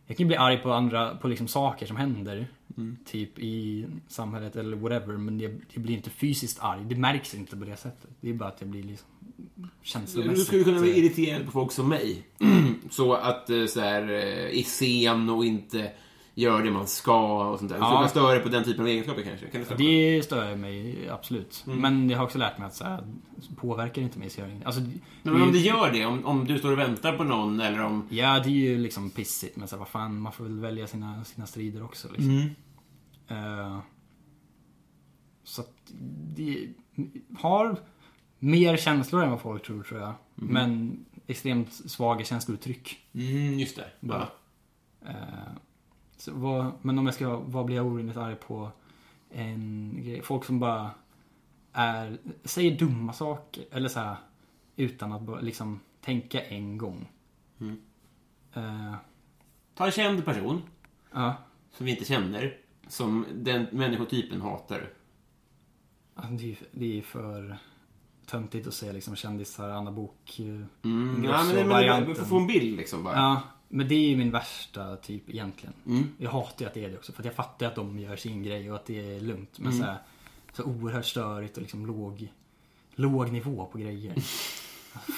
B: Jag kan ju bli arg på andra, på liksom saker som händer.
A: Mm.
B: Typ i samhället eller whatever. Men jag, jag blir inte fysiskt arg. Det märks inte på det sättet. Det är bara att jag blir liksom
A: Du
B: känslomässigt...
A: skulle kunna bli
B: eh,
A: irriterad på folk som mig. [clears throat] så att eh, så här, eh, är sen och inte gör det man ska och sånt där. Du skulle
B: Ja.
A: kunna störa dig på den typen av egenskaper kanske? Kan du störa på
B: Det stör mig absolut.
A: Mm.
B: Men jag har också lärt mig att så här, påverkar det inte mig så gör det inget. Alltså,
A: det? Men om
B: det
A: det
B: är ju-
A: gör det, om, om du står och väntar på någon eller om...
B: Ja, det är ju liksom pissigt. Men så här, vad fan, man får väl välja sina, sina strider också. Liksom.
A: Mm.
B: Eh, så att det har mer känslor än vad folk tror, tror jag. Men extremt svaga känslouttryck.
A: Mm, just det.
B: Bara. Eh, så vad, men om jag ska, vad blir jag orimligt arg på? En grej. Folk som bara är, säger dumma saker. Eller så här, utan att bara, liksom tänka en gång.
A: Mm.
B: Eh,
A: Ta en känd person
B: ja,
A: som vi inte känner, som den människotypen hatar.
B: alltså det, är, ju- det är för töntigt att säga liksom kändisar, Anna Bok eh,
A: Mm,
B: Grosso-
A: ja, men, men, men,
B: varianten.
A: men, få en bild liksom bara.
B: Ja, men det är ju min värsta typ egentligen.
A: Mm.
B: Jag hatar ju att det är det också. För att jag fattar att de gör sin grej och att det är lugnt.
A: Mm.
B: Men så, här, så oerhört störigt och liksom låg, låg nivå
A: [laughs]
B: på grejer.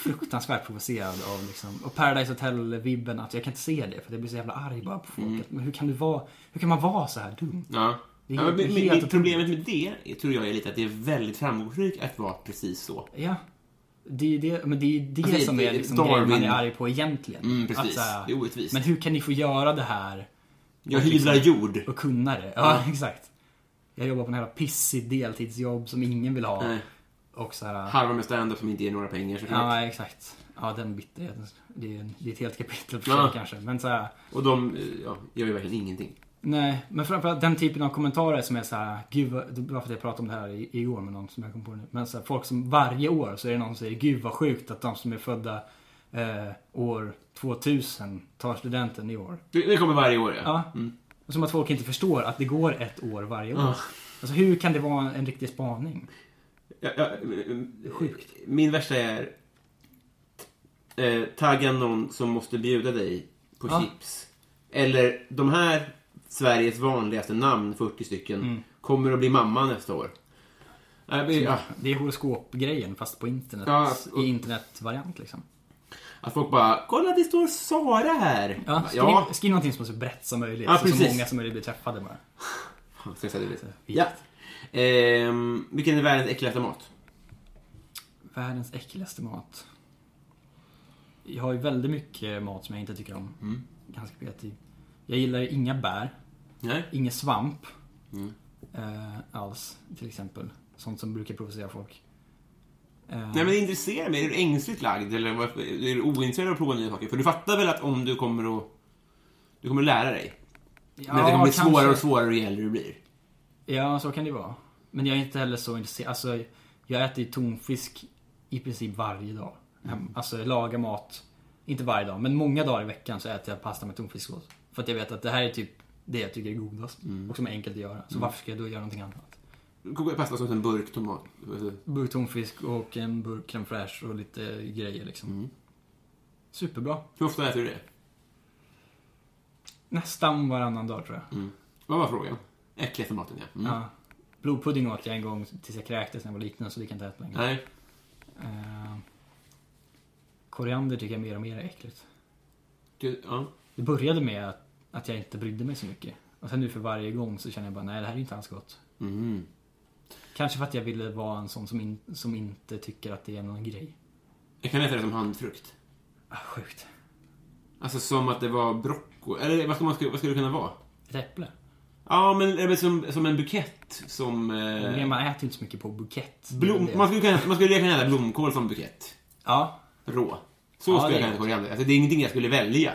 B: Fruktansvärt provocerad av liksom, och Paradise Hotel-vibben att jag kan inte se det för att jag blir så jävla arg bara på
A: Mm.
B: folk. Att, Men hur kan, du vara, hur kan man vara så här dum?
A: Ja.
B: Det är
A: ja,
B: helt-
A: men, men,
B: helt
A: men
B: otroligt.
A: problemet med det är- tror jag är lite att det är väldigt framgångsrikt att vara precis så.
B: Ja. Det är det, men det, är det
A: Alltså,
B: som
A: det-
B: är liksom
A: Darwin-
B: grejen man är arg på egentligen.
A: Mm, precis.
B: så här,
A: Det är orättvist.
B: Men hur kan ni få göra det här
A: Jag hyvlar jord.
B: och kunna det. Ja, [laughs] exakt. Jag jobbar på en jävla pissig deltidsjobb som ingen vill ha.
A: Nej.
B: Och så här...
A: Harvar med stand-up som inte ger några pengar såklart.
B: Ja, exakt. Ja, den bitterheten. Det är, en- det är ett helt kapitel för sig
A: Ja.
B: kanske. Men så här,
A: Och de eh, ja, gör ju verkligen ingenting.
B: Nej, men framförallt den typen av kommentarer som är så här, gud vad, det var för att jag pratade om det här i- igår med någon som jag kom på nu. Men så här, folk som varje år så är det någon som säger, gud vad sjukt att de som är födda eh, år 2000 tar studenten i år.
A: Det det kommer varje år ja.
B: Ja. Som att folk inte förstår att det går ett år varje år. Alltså hur kan det vara en riktig spaning?
A: ja, ja Sjukt. Min värsta är eh, tagga någon som måste bjuda dig på
B: Ja.
A: chips. Eller de här Sveriges vanligaste namn, 40 stycken,
B: Mm.
A: kommer att bli mamma nästa år. Nej, men, ja.
B: Det är horoskopgrejen fast på internet.
A: Ja, och-
B: I internetvariant liksom.
A: Att folk bara, kolla det står Sara här.
B: Ja,
A: Bara,
B: skriv,
A: ja.
B: skriv någonting som är så brett som möjligt.
A: Ja,
B: så, så
A: precis.
B: många som möjligt blir träffade bara.
A: Fan, ska jag säga det lite? ja. Ehm, vilken är världens äckligaste mat?
B: Världens äckligaste mat. Jag har ju väldigt mycket mat som jag inte tycker om.
A: Mm.
B: Ganska kreativ. Jag gillar ju inga bär,
A: Nej.
B: ingen svamp.
A: Mm.
B: Eh, alls, till exempel. Sånt som brukar provocera folk. Eh,
A: Nej men det intresserar mig. Är du ängsligt lagd eller varför- är du ointresserad av att prova nya saker? För du fattar väl att om du kommer att... Du kommer att lära dig.
B: ja,
A: men det kommer bli
B: kanske.
A: svårare och svårare ju äldre du blir.
B: Ja, så kan det vara. Men jag är inte heller så intresserad. Alltså, jag äter ju tonfisk i princip varje dag. Mm. Alltså, jag lagar mat. Inte varje dag, men många dagar i veckan så äter jag pasta med tonfisksås. För att jag vet att det här är typ det jag tycker är godast. Och som är enkelt att göra. Så varför ska jag då göra någonting annat?
A: Koka pasta som en burk tomat.
B: Burk tonfisk och en burk crème fraîche och lite grejer liksom. Superbra.
A: Hur ofta äter du det?
B: Nästan varannan dag tror
A: Vad
B: jag.
A: Mm. var frågan? Äckligaste maten, ja. Mm.
B: Ja. Blodpudding åt jag en gång tills jag kräktes när jag var liten så det kan jag inte äta längre.
A: Nej.
B: Eh, koriander tycker jag mer och mer är äckligt.
A: Du, ja.
B: Det började med att, att jag inte brydde mig så mycket. Och sen nu för varje gång så känner jag bara, nej det här är inte alls gott.
A: Mm.
B: Kanske för att jag ville vara en sån som, in, som inte tycker att det är någon grej.
A: Jag kan äta det som handfrukt.
B: Ah, sjukt.
A: Alltså som att det var broccoli. Eller vad ska, man, vad ska det kunna vara?
B: Ett äpple.
A: Ja, men eller som, som en bukett. Som...
B: Men
A: Eh,
B: man äter ju inte så mycket på bukett.
A: blom,
B: Det är det.
A: man skulle kunna, man skulle kunna äta blomkål som bukett.
B: Ja,
A: Rå. Så skulle
B: Ja, det
A: jag
B: är
A: kunna äta
B: gott.
A: koriander. Alltså, det är ingenting jag skulle välja.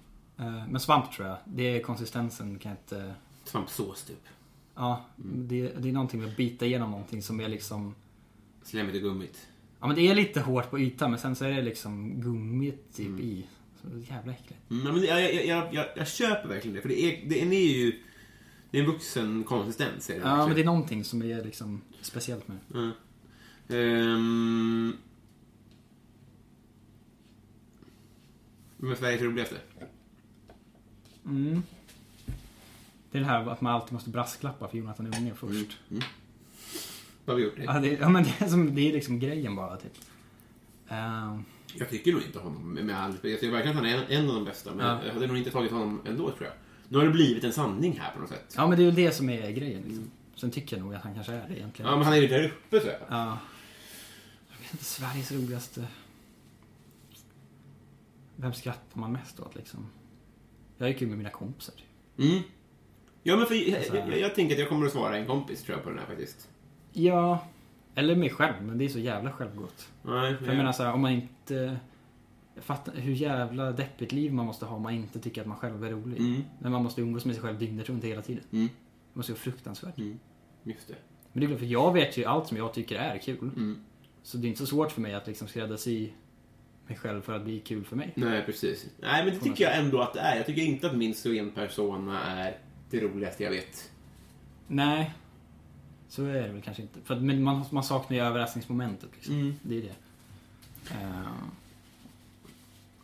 B: Eh, Men svamp tror jag. Det är konsistensen kan jag inte...
A: Svampsås, typ.
B: Ja,
A: Mm.
B: det, det är någonting med att bita igenom någonting som är liksom...
A: Slemmigt och gummigt.
B: Ja men det är lite hårt på ytan men sen så är det liksom gummit typ i. Så det är jävla äckligt.
A: Mm, ja, men jag, jag, jag, jag, jag köper verkligen det. För det är, det, den är ju... Det är en vuxen konsistens. Är det
B: Ja men det är
A: verkligen. Mm.
B: någonting som är liksom speciellt med det.
A: Ehm... Vem är Sveriges roligaste?
B: Det är det här att man alltid måste brasklappa för Jonathan Unge först.
A: Mm. Vad har vi gjort? Det?
B: Ja, det, ja men det är, som, det är liksom grejen bara typ. Ehm,
A: Jag tycker nog inte honom, med all respekt. Jag tycker verkligen att han är en, en av de bästa, men
B: Ja.
A: jag hade nog inte tagit honom ändå, tror jag. Nu har det blivit en sanning här på något sätt.
B: ja men det är väl det som är grejen liksom. Sen tycker jag nog att han kanske är det
A: Mm.
B: egentligen.
A: Ja, men han är ju där uppe, tror jag.
B: Ja. Jag vet inte, Sveriges roligaste... Vem skrattar man mest åt liksom? Jag gick ju med mina kompisar. typ.
A: Mm. Ja, men för, jag,
B: Alltså,
A: jag, jag, jag tänker att jag kommer att svara en kompis, tror jag, på den här faktiskt.
B: Ja, eller mig själv, men det är så jävla självgott.
A: Nej,
B: För jag menar så här, om man inte... Jag fattar hur jävla deppigt liv man måste ha om man inte tycker att man själv är rolig.
A: Mm.
B: Men man måste umgås med sig själv dygnet runt hela tiden.
A: Mm.
B: Det måste vara fruktansvärt.
A: Just det.
B: Men det är klart,
A: Mm.
B: för jag vet ju allt som jag tycker är kul. Så det är inte så svårt för mig att liksom skräddarsy mig själv för att bli kul för mig.
A: Nej, precis. Nej, men det tycker jag ändå att det är. Jag tycker inte att min Sven-persona är det roligaste jag vet.
B: Nej, så är det väl kanske inte. För att, men man, man saknar ju överraskningsmomentet. Liksom.
A: Mm.
B: Det är det. Eh,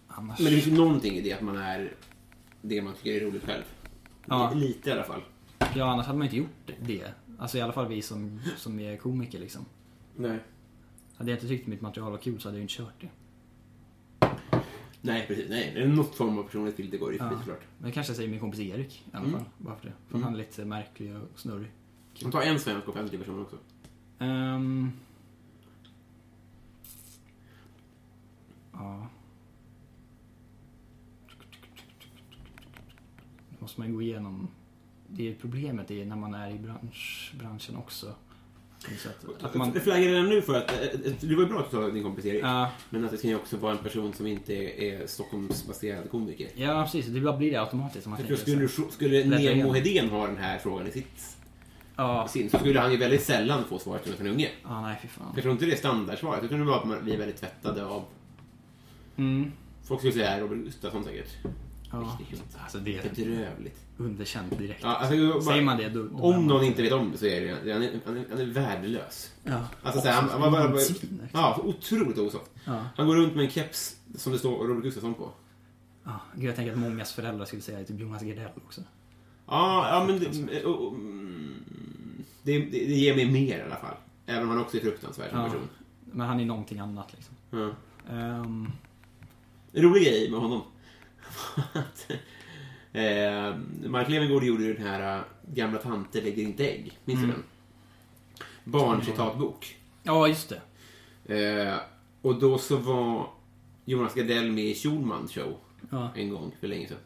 B: annars...
A: Men det finns ju någonting i det att man är det man tycker är roligt själv.
B: Ja.
A: Lite i alla fall.
B: Ja, annars hade man inte gjort det. Alltså i alla fall vi som, som är komiker liksom.
A: Nej.
B: Hade jag inte tyckt mitt material var kul så hade jag ju inte kört det.
A: Nej, precis. Nej, det är något form av personligt filter går det förbi såklart.
B: Men det kanske jag säger min kompis Erik i alla fall. Bara för det. För han är lite märklig och snurrig.
A: Man tar en svensk offentlig person också.
B: Ehm. Ja. Nu måste man ju gå igenom. Det är problemet är när man är i bransch, branschen också. Så att, att man,
A: Jag flaggar redan nu för att, eh, eh, det var ju bra att du sa din kompis Erik,
B: Ja.
A: men att det kan ju också vara en person som inte är, är Stockholmsbaserad komiker.
B: ja precis, det bara blir det automatiskt. om Man
A: Jag
B: tänker
A: tror skulle,
B: så.
A: du- skulle
B: Lätt
A: Nemo
B: igenom.
A: Hedén ha den här frågan i sitt
B: Ja,
A: sin så skulle han ju väldigt sällan få svaret från en unge.
B: ja, nej fy fan.
A: Jag tror inte det är standardsvaret. Jag tror det var att man- vi är väldigt tvättade av...
B: Mm.
A: Folk skulle säga Robert Gustafsson säkert.
B: Ja.
A: Riktigt sjukt.
B: Alltså det är
A: Bedrövligt.
B: underkänt direkt.
A: Ja, alltså, jag-
B: Säger man det då...
A: Om någon inte vet om det så är det ju- han är, han är, han är värdelös.
B: Ja.
A: Alltså, så här, han, han var bara, bara,
B: Svin, liksom.
A: ja, otroligt osoft.
B: Ja.
A: Han går runt med en keps som det står Robert Gustafsson på.
B: Ja, gud, jag tänker att mångas föräldrar skulle säga typ Jonas Gardell också.
A: Ja, ja men
B: Alltså.
A: det, eh, och, och, mm, det, det, det ger mig mer i alla fall. Även om han också är fruktansvärd som
B: Ja.
A: person.
B: Men han är någonting annat liksom.
A: Ja.
B: Ehm,
A: En rolig grej med honom. [laughs] Att, eh, Mark Levengood gjorde ju den här eh, Gamla tanter lägger inte ägg. Minns
B: Mm.
A: du den? Barncitatbok.
B: ja, just det.
A: Eh, och då så var Jonas Gardell med i Schulman show
B: Ja.
A: en gång för länge sedan.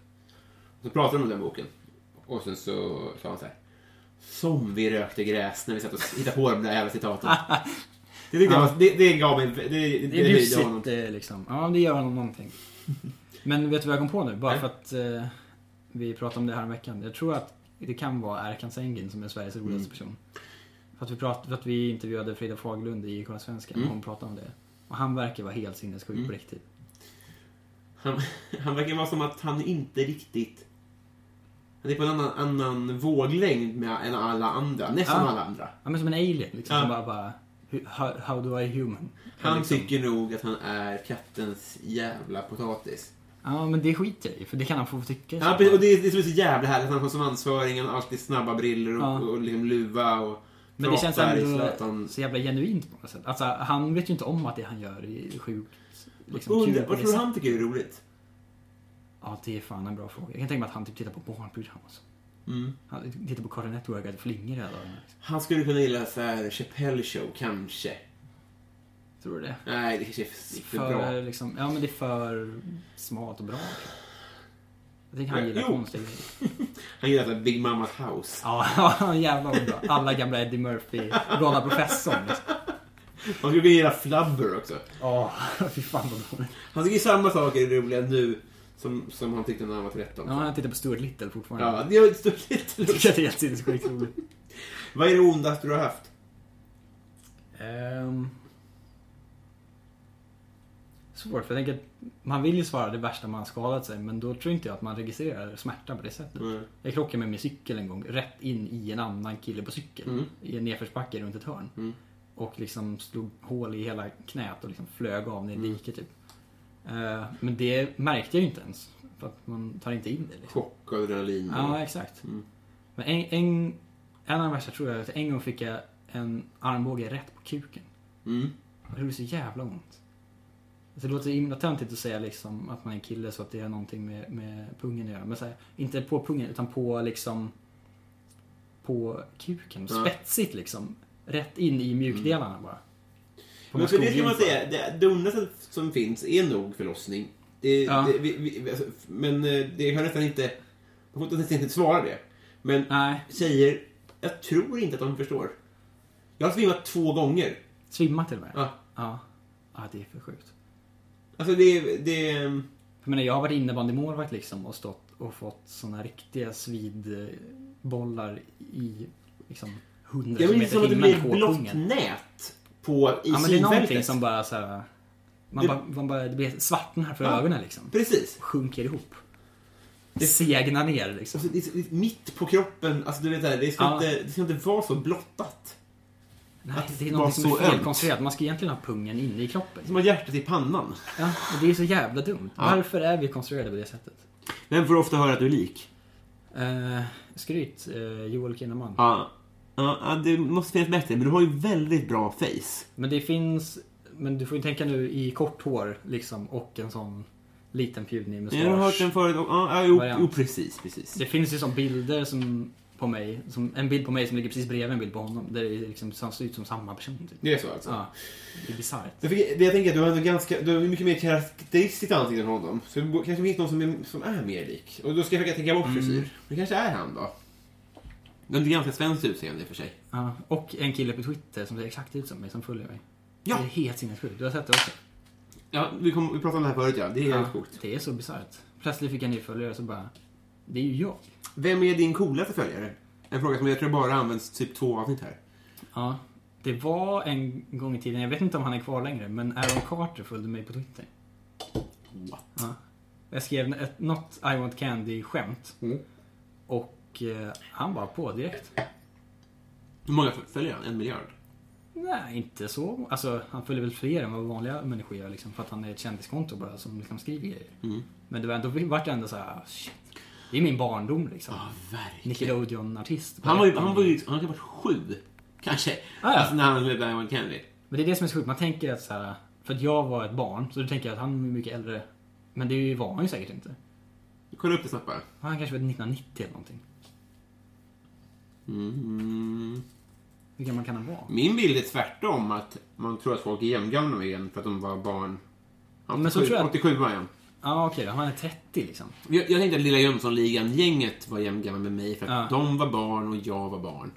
A: Så pratade de om den boken. Och sen så sa han så här. Som vi rökte gräs när vi satt och hittade på de där jävla citaten. [laughs] Det, tyckte jag var- det, det gav mig... Det, det, det,
B: Det är bjussigt eh, liksom. Ja, det gör honom någonting.
A: [laughs]
B: Men vet du vad jag kom på nu? Bara
A: Nej.
B: för att eh, vi pratade om det här om veckan. Jag tror att det kan vara Erkan Sengin som är Sveriges roligaste
A: Mm.
B: person. För att, vi prat, för att vi intervjuade Frida Faglund i Kolla Svenska
A: Mm.
B: och hon pratade om det. Och han verkar vara helt sinnessjuk på riktigt.
A: Han, han verkar vara som att han inte riktigt... Han är på en annan, annan våglängd med, än alla andra. Nästan
B: Ja.
A: alla andra.
B: Ja, men som en alien liksom.
A: Ja.
B: Som bara, bara "Hu- how, how do I human? Liksom.
A: Han tycker nog att han är kattens jävla potatis.
B: Ja, men det skiter jag i. För det kan han få tycka.
A: Ja, precis, och det är, det är så jävligt härligt. Han har svansföringen, alltid snabba briller och,
B: Ja.
A: och, liksom luva och
B: Men det känns
A: pratar i
B: ändå
A: Zlatan.
B: så jävla genuint på något sätt. Alltså, han vet ju inte om att det han gör är sjukt liksom,
A: Undrar,
B: på
A: vad tror
B: det
A: du
B: sättet.
A: han tycker är roligt?
B: Ja, det är fan en bra fråga. Jag kan tänka mig att han typ tittar på barnprogram. Alltså.
A: Mm.
B: Han tittar på Cartoon Network och flingor hela dagen. Liksom.
A: Han skulle kunna gilla så här Chappelle show, kanske.
B: Tror du det?
A: Nej, det kanske är
B: Det är
A: för,
B: för,
A: bra.
B: liksom, ja, men det är för smart och bra. tror jag. Jag tänker han
A: Ja,
B: gillar
A: jo.
B: konstiga grejer.
A: Han gillar så här Big Mamas house.
B: Ja, [laughs] jävlar vad bra. Alla gamla Eddie Murphy, galna professorn. Liksom.
A: Han skulle kunna gilla Flubber också.
B: Ja, [laughs] fy fan vad dåligt.
A: Han tycker samma saker är roliga nu som, som han tyckte när han var 13.
B: Ja, han tittar på Stuart Little fortfarande.
A: Ja, det är ett stort
B: [laughs] Jag
A: litet- [laughs]
B: tycker att det är helt sinnessjukt roligt.
A: Vad är det ondaste du har haft?
B: Ehm. Svårt, för jag tänker att man vill ju svara det värsta man har skadat sig men då tror inte jag att man registrerar smärta på det sättet.
A: Mm.
B: Jag krockade med min cykel en gång, rätt in i en annan kille på cykel. I en nedförsbacke runt ett hörn. Och liksom slog hål i hela knät och liksom flög av ner i diket typ. Eh, men det märkte jag ju inte ens. För att man tar inte in det liksom.
A: Chock och adrenalin.
B: Ja, exakt.
A: Mm.
B: Men en, en, en av de värsta tror jag att en gång fick jag en armbåge rätt på kuken.
A: Mm.
B: Och det gjorde så jävla ont. Alltså, det låter så himla töntigt att säga liksom att man är kille så att det är någonting med, med pungen att göra. Men så här, inte på pungen utan på liksom på kuken. Spetsigt liksom. Rätt in i mjukdelarna bara. På
A: Mm. Men för det ska
B: skogen
A: man
B: så.
A: säga, det, det ondaste som finns är nog förlossning. Det,
B: Ja.
A: det, vi, vi, alltså, men eh, det har nästan inte... Man får nästan inte svara det. Men
B: Nej,
A: tjejer, jag tror inte att de förstår. Jag har svimmat två gånger.
B: svimma till och med.
A: Ja.
B: ja. Ja, det är för sjukt.
A: Alltså det... det
B: Jag menar, jag har varit innebandymålvakt liksom och stått och fått såna riktiga svidbollar i liksom 100
A: jag
B: km
A: minns som att det
B: i
A: blir
B: timmen
A: ett
B: på
A: blått
B: pungen.
A: nät på, i
B: Ja men det är någonting
A: synfältet.
B: som bara så här. Man, bara, man bara, det blir svartnar för ögonen liksom.
A: Precis.
B: Sjunker ihop. Det segnar ner liksom.
A: Alltså, det är, så- det är mitt på kroppen. Alltså, du vet, det, här, det, ska
B: Ja.
A: inte, det ska inte vara så blottat.
B: Nej,
A: att
B: det är
A: vara
B: något som
A: så
B: är
A: ömt.
B: felkonstruerat. Man ska egentligen ha pungen inne i kroppen.
A: Som har hjärtat i pannan.
B: Ja, och det är så jävla dumt. Varför är vi konstruerade på det sättet?
A: Vem får ofta höra att du är lik?
B: Eh, skryt, eh, Joel Kinnaman.
A: Ja. Ja, ja, det måste finnas bättre, men du har ju väldigt bra face.
B: Men det finns... Men du får ju tänka nu i kort hår liksom och en sån liten pjunig
A: Jag har hört
B: mustasch.
A: den förut. Ja, ja, jo,
B: Variant.
A: jo, precis, precis.
B: Det finns ju som bilder som på mig, som, en bild på mig som ligger precis bredvid en bild på honom. Där det är liksom, så han ser ut som samma person. Typ.
A: Det är så alltså?
B: Ja, det är bisarrt.
A: Jag, fick, det jag tänker att du har ändå ganska, du har ju mycket mer karaktäristiskt ansikte än honom. Så det bo- kanske finns någon som är, som är mer lik. Och då ska jag försöka tänka bort frisyr. Det kanske är han då. Det är ganska svenskt utseende i och för sig.
B: Ja, och en kille på Twitter som ser exakt ut som mig, som följer mig.
A: Ja.
B: Det är helt sinnessjukt. Du har sett det också?
A: Ja, vi, kom, vi pratade om det här förut ja. Det är helt sjukt.
B: Det är så bisarrt. Plötsligt fick jag en ny följare och så bara... Det är ju jag.
A: Vem är din coolaste följare? En fråga som jag tror bara används typ två avsnitt här.
B: Ja. Det var en gång i tiden, jag vet inte om han är kvar längre, men Aaron Carter följde mig på Twitter.
A: What?
B: Ja. Jag skrev ett, något I want candy-skämt.
A: Mm.
B: Och eh, han var på direkt.
A: Hur många följer han? En miljard?
B: Nej, inte så. Alltså, han följer väl fler än vad vanliga människor gör liksom, för att han är ett kändiskonto bara som liksom skriver grejer.
A: Mm.
B: Men det var ändå, vart det ändå såhär, shit. Det är min barndom liksom.
A: verkligen.
B: Nickelodeon-artist.
A: Ah, Han var ju, han var ju, han kan ha varit sju. Kanske.
B: Ah, ja.
A: Alltså när han var med Ivan Kennedy.
B: Men det är det som är så sjukt. Man tänker att så här, för att jag var ett barn, så då tänker jag att han är mycket äldre. Men det var han ju säkert inte.
A: Kolla upp det snabbt bara.
B: Han kanske var 1990 eller någonting.
A: Mm.
B: Hur gammal kan han vara?
A: Min bild är tvärtom, att man tror att folk är jämngamla med en för att de var barn.
B: Men så
A: 87
B: tror jag-
A: 87 var jag.
B: Ja, okej då. Han är 30 liksom.
A: Jag, jag tänkte att Lilla Jönssonligan-gänget var jämngamla med mig för att de var barn och jag var barn.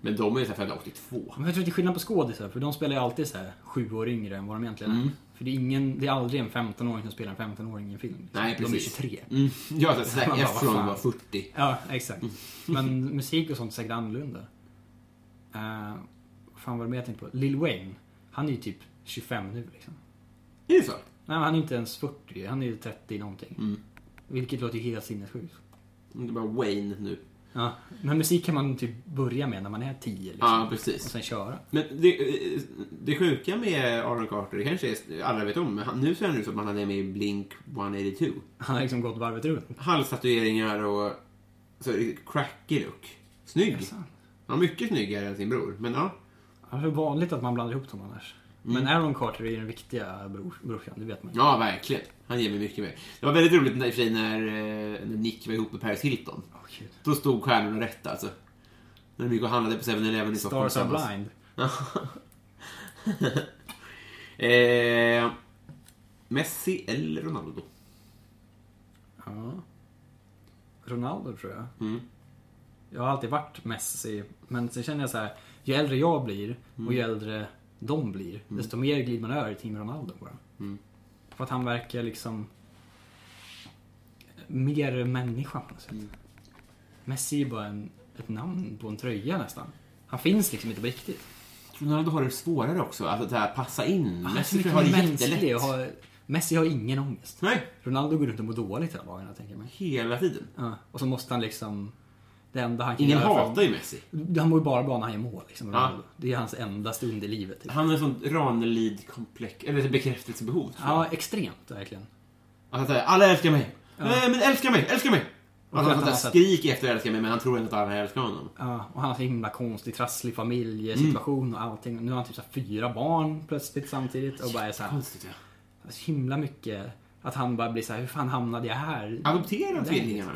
A: Men de är ju så här födda 82.
B: Men jag tror att det är skillnad på skådisar, för de spelar ju alltid så här sju år yngre än vad de egentligen
A: Mm.
B: är. För det är, ingen, det är aldrig en 15-åring som spelar en 15-åring i en film.
A: Nej,
B: De är
A: precis.
B: 23.
A: Mm. Jag
B: [laughs]
A: var så här,
B: Man
A: Zac
B: bara, vad
A: Efron
B: fan.
A: var 40.
B: Ja, exakt. Men musik och sånt är säkert annorlunda. Uh, fan var det mer jag tänkte på? Lil Wayne. Han är ju typ 25 nu liksom.
A: Är det så?
B: Nej, men han är inte ens 40. Han är ju 30 någonting.
A: Mm.
B: Vilket låter ju helt sinnessjukt.
A: Det är bara Wayne
B: Liksom.
A: nu.
B: Ja. Men musik kan man typ börja med när man är 10 liksom.
A: Ja,
B: Och
A: precis.
B: sen köra.
A: Men det, det sjuka med Aaron Carter, det kanske är, alla vet om, men han, nu ser han ut som att han är med i Blink 182.
B: Han har liksom gått varvet runt.
A: Halstatueringar och så crackig look. Snygg. Ja, mycket snyggare än sin bror. Men ja,
B: Det är så vanligt att man blandar ihop dem annars. Men Aaron Carter är ju den riktiga bror, brorsan, det vet man ju.
A: Mm. ja verkligen. Han ger mig mycket mer. Det var väldigt roligt när, i och för sig när, eh, när Nick var ihop med Paris Hilton.
B: Åh, gud.
A: Då stod stjärnorna rätt alltså. När de gick och handlade på 7-Eleven i Stockholm
B: Stars are
A: tillsammans.
B: blind.
A: eh, Messi eller Ronaldo?
B: Ja. Ronaldo tror jag.
A: Mm.
B: Jag har alltid varit Messi, men sen känner jag så här. Ju äldre jag blir och
A: Mm.
B: ju äldre de blir, desto mer glider man över i Team Ronaldo bara.
A: Mm.
B: För att han verkar liksom mer människa på något sätt.
A: Mm.
B: Messi är bara en, ett namn på en tröja nästan. Han finns liksom inte på riktigt.
A: Ronaldo har det svårare också, alltså att det här passa in.
B: Han är Ah, så
A: Messi
B: mycket
A: har det
B: mer mänsklig
A: jättelätt.
B: och har, Messi har ingen ångest.
A: Nej,
B: Ronaldo går runt och mår dåligt hela dagarna tänker jag mig.
A: hela tiden. Alltså,
B: Ja, och så måste han liksom... Det enda han kan
A: Ingen
B: göra för-
A: hatar ju Messi.
B: Han mår ju bara bra när han gör mål. Liksom,
A: Ja.
B: Ronaldo. Det är hans enda stund i livet. Typ.
A: Han har ett sånt Ranelid-komplex, eller ett bekräftelsebehov. tror jag.
B: Ja, extremt verkligen.
A: Alltså, så här, alla älskar mig. Nej, men älska mig, älska mig!
B: Och
A: Alltså,
B: att
A: han
B: han
A: sånt
B: har
A: där skrik efter älska mig, men han tror ändå att alla älskar honom.
B: Ja, och han har så himla konstig, trasslig familjesituation
A: Mm.
B: och allting. Nu har han typ så här fyra barn plötsligt samtidigt. Och bara är så, här,
A: Konstigt, ja.
B: så himla mycket... Att han bara blir så här, hur fan hamnade jag här?
A: Adopterar han
B: Nej.
A: tvillingarna?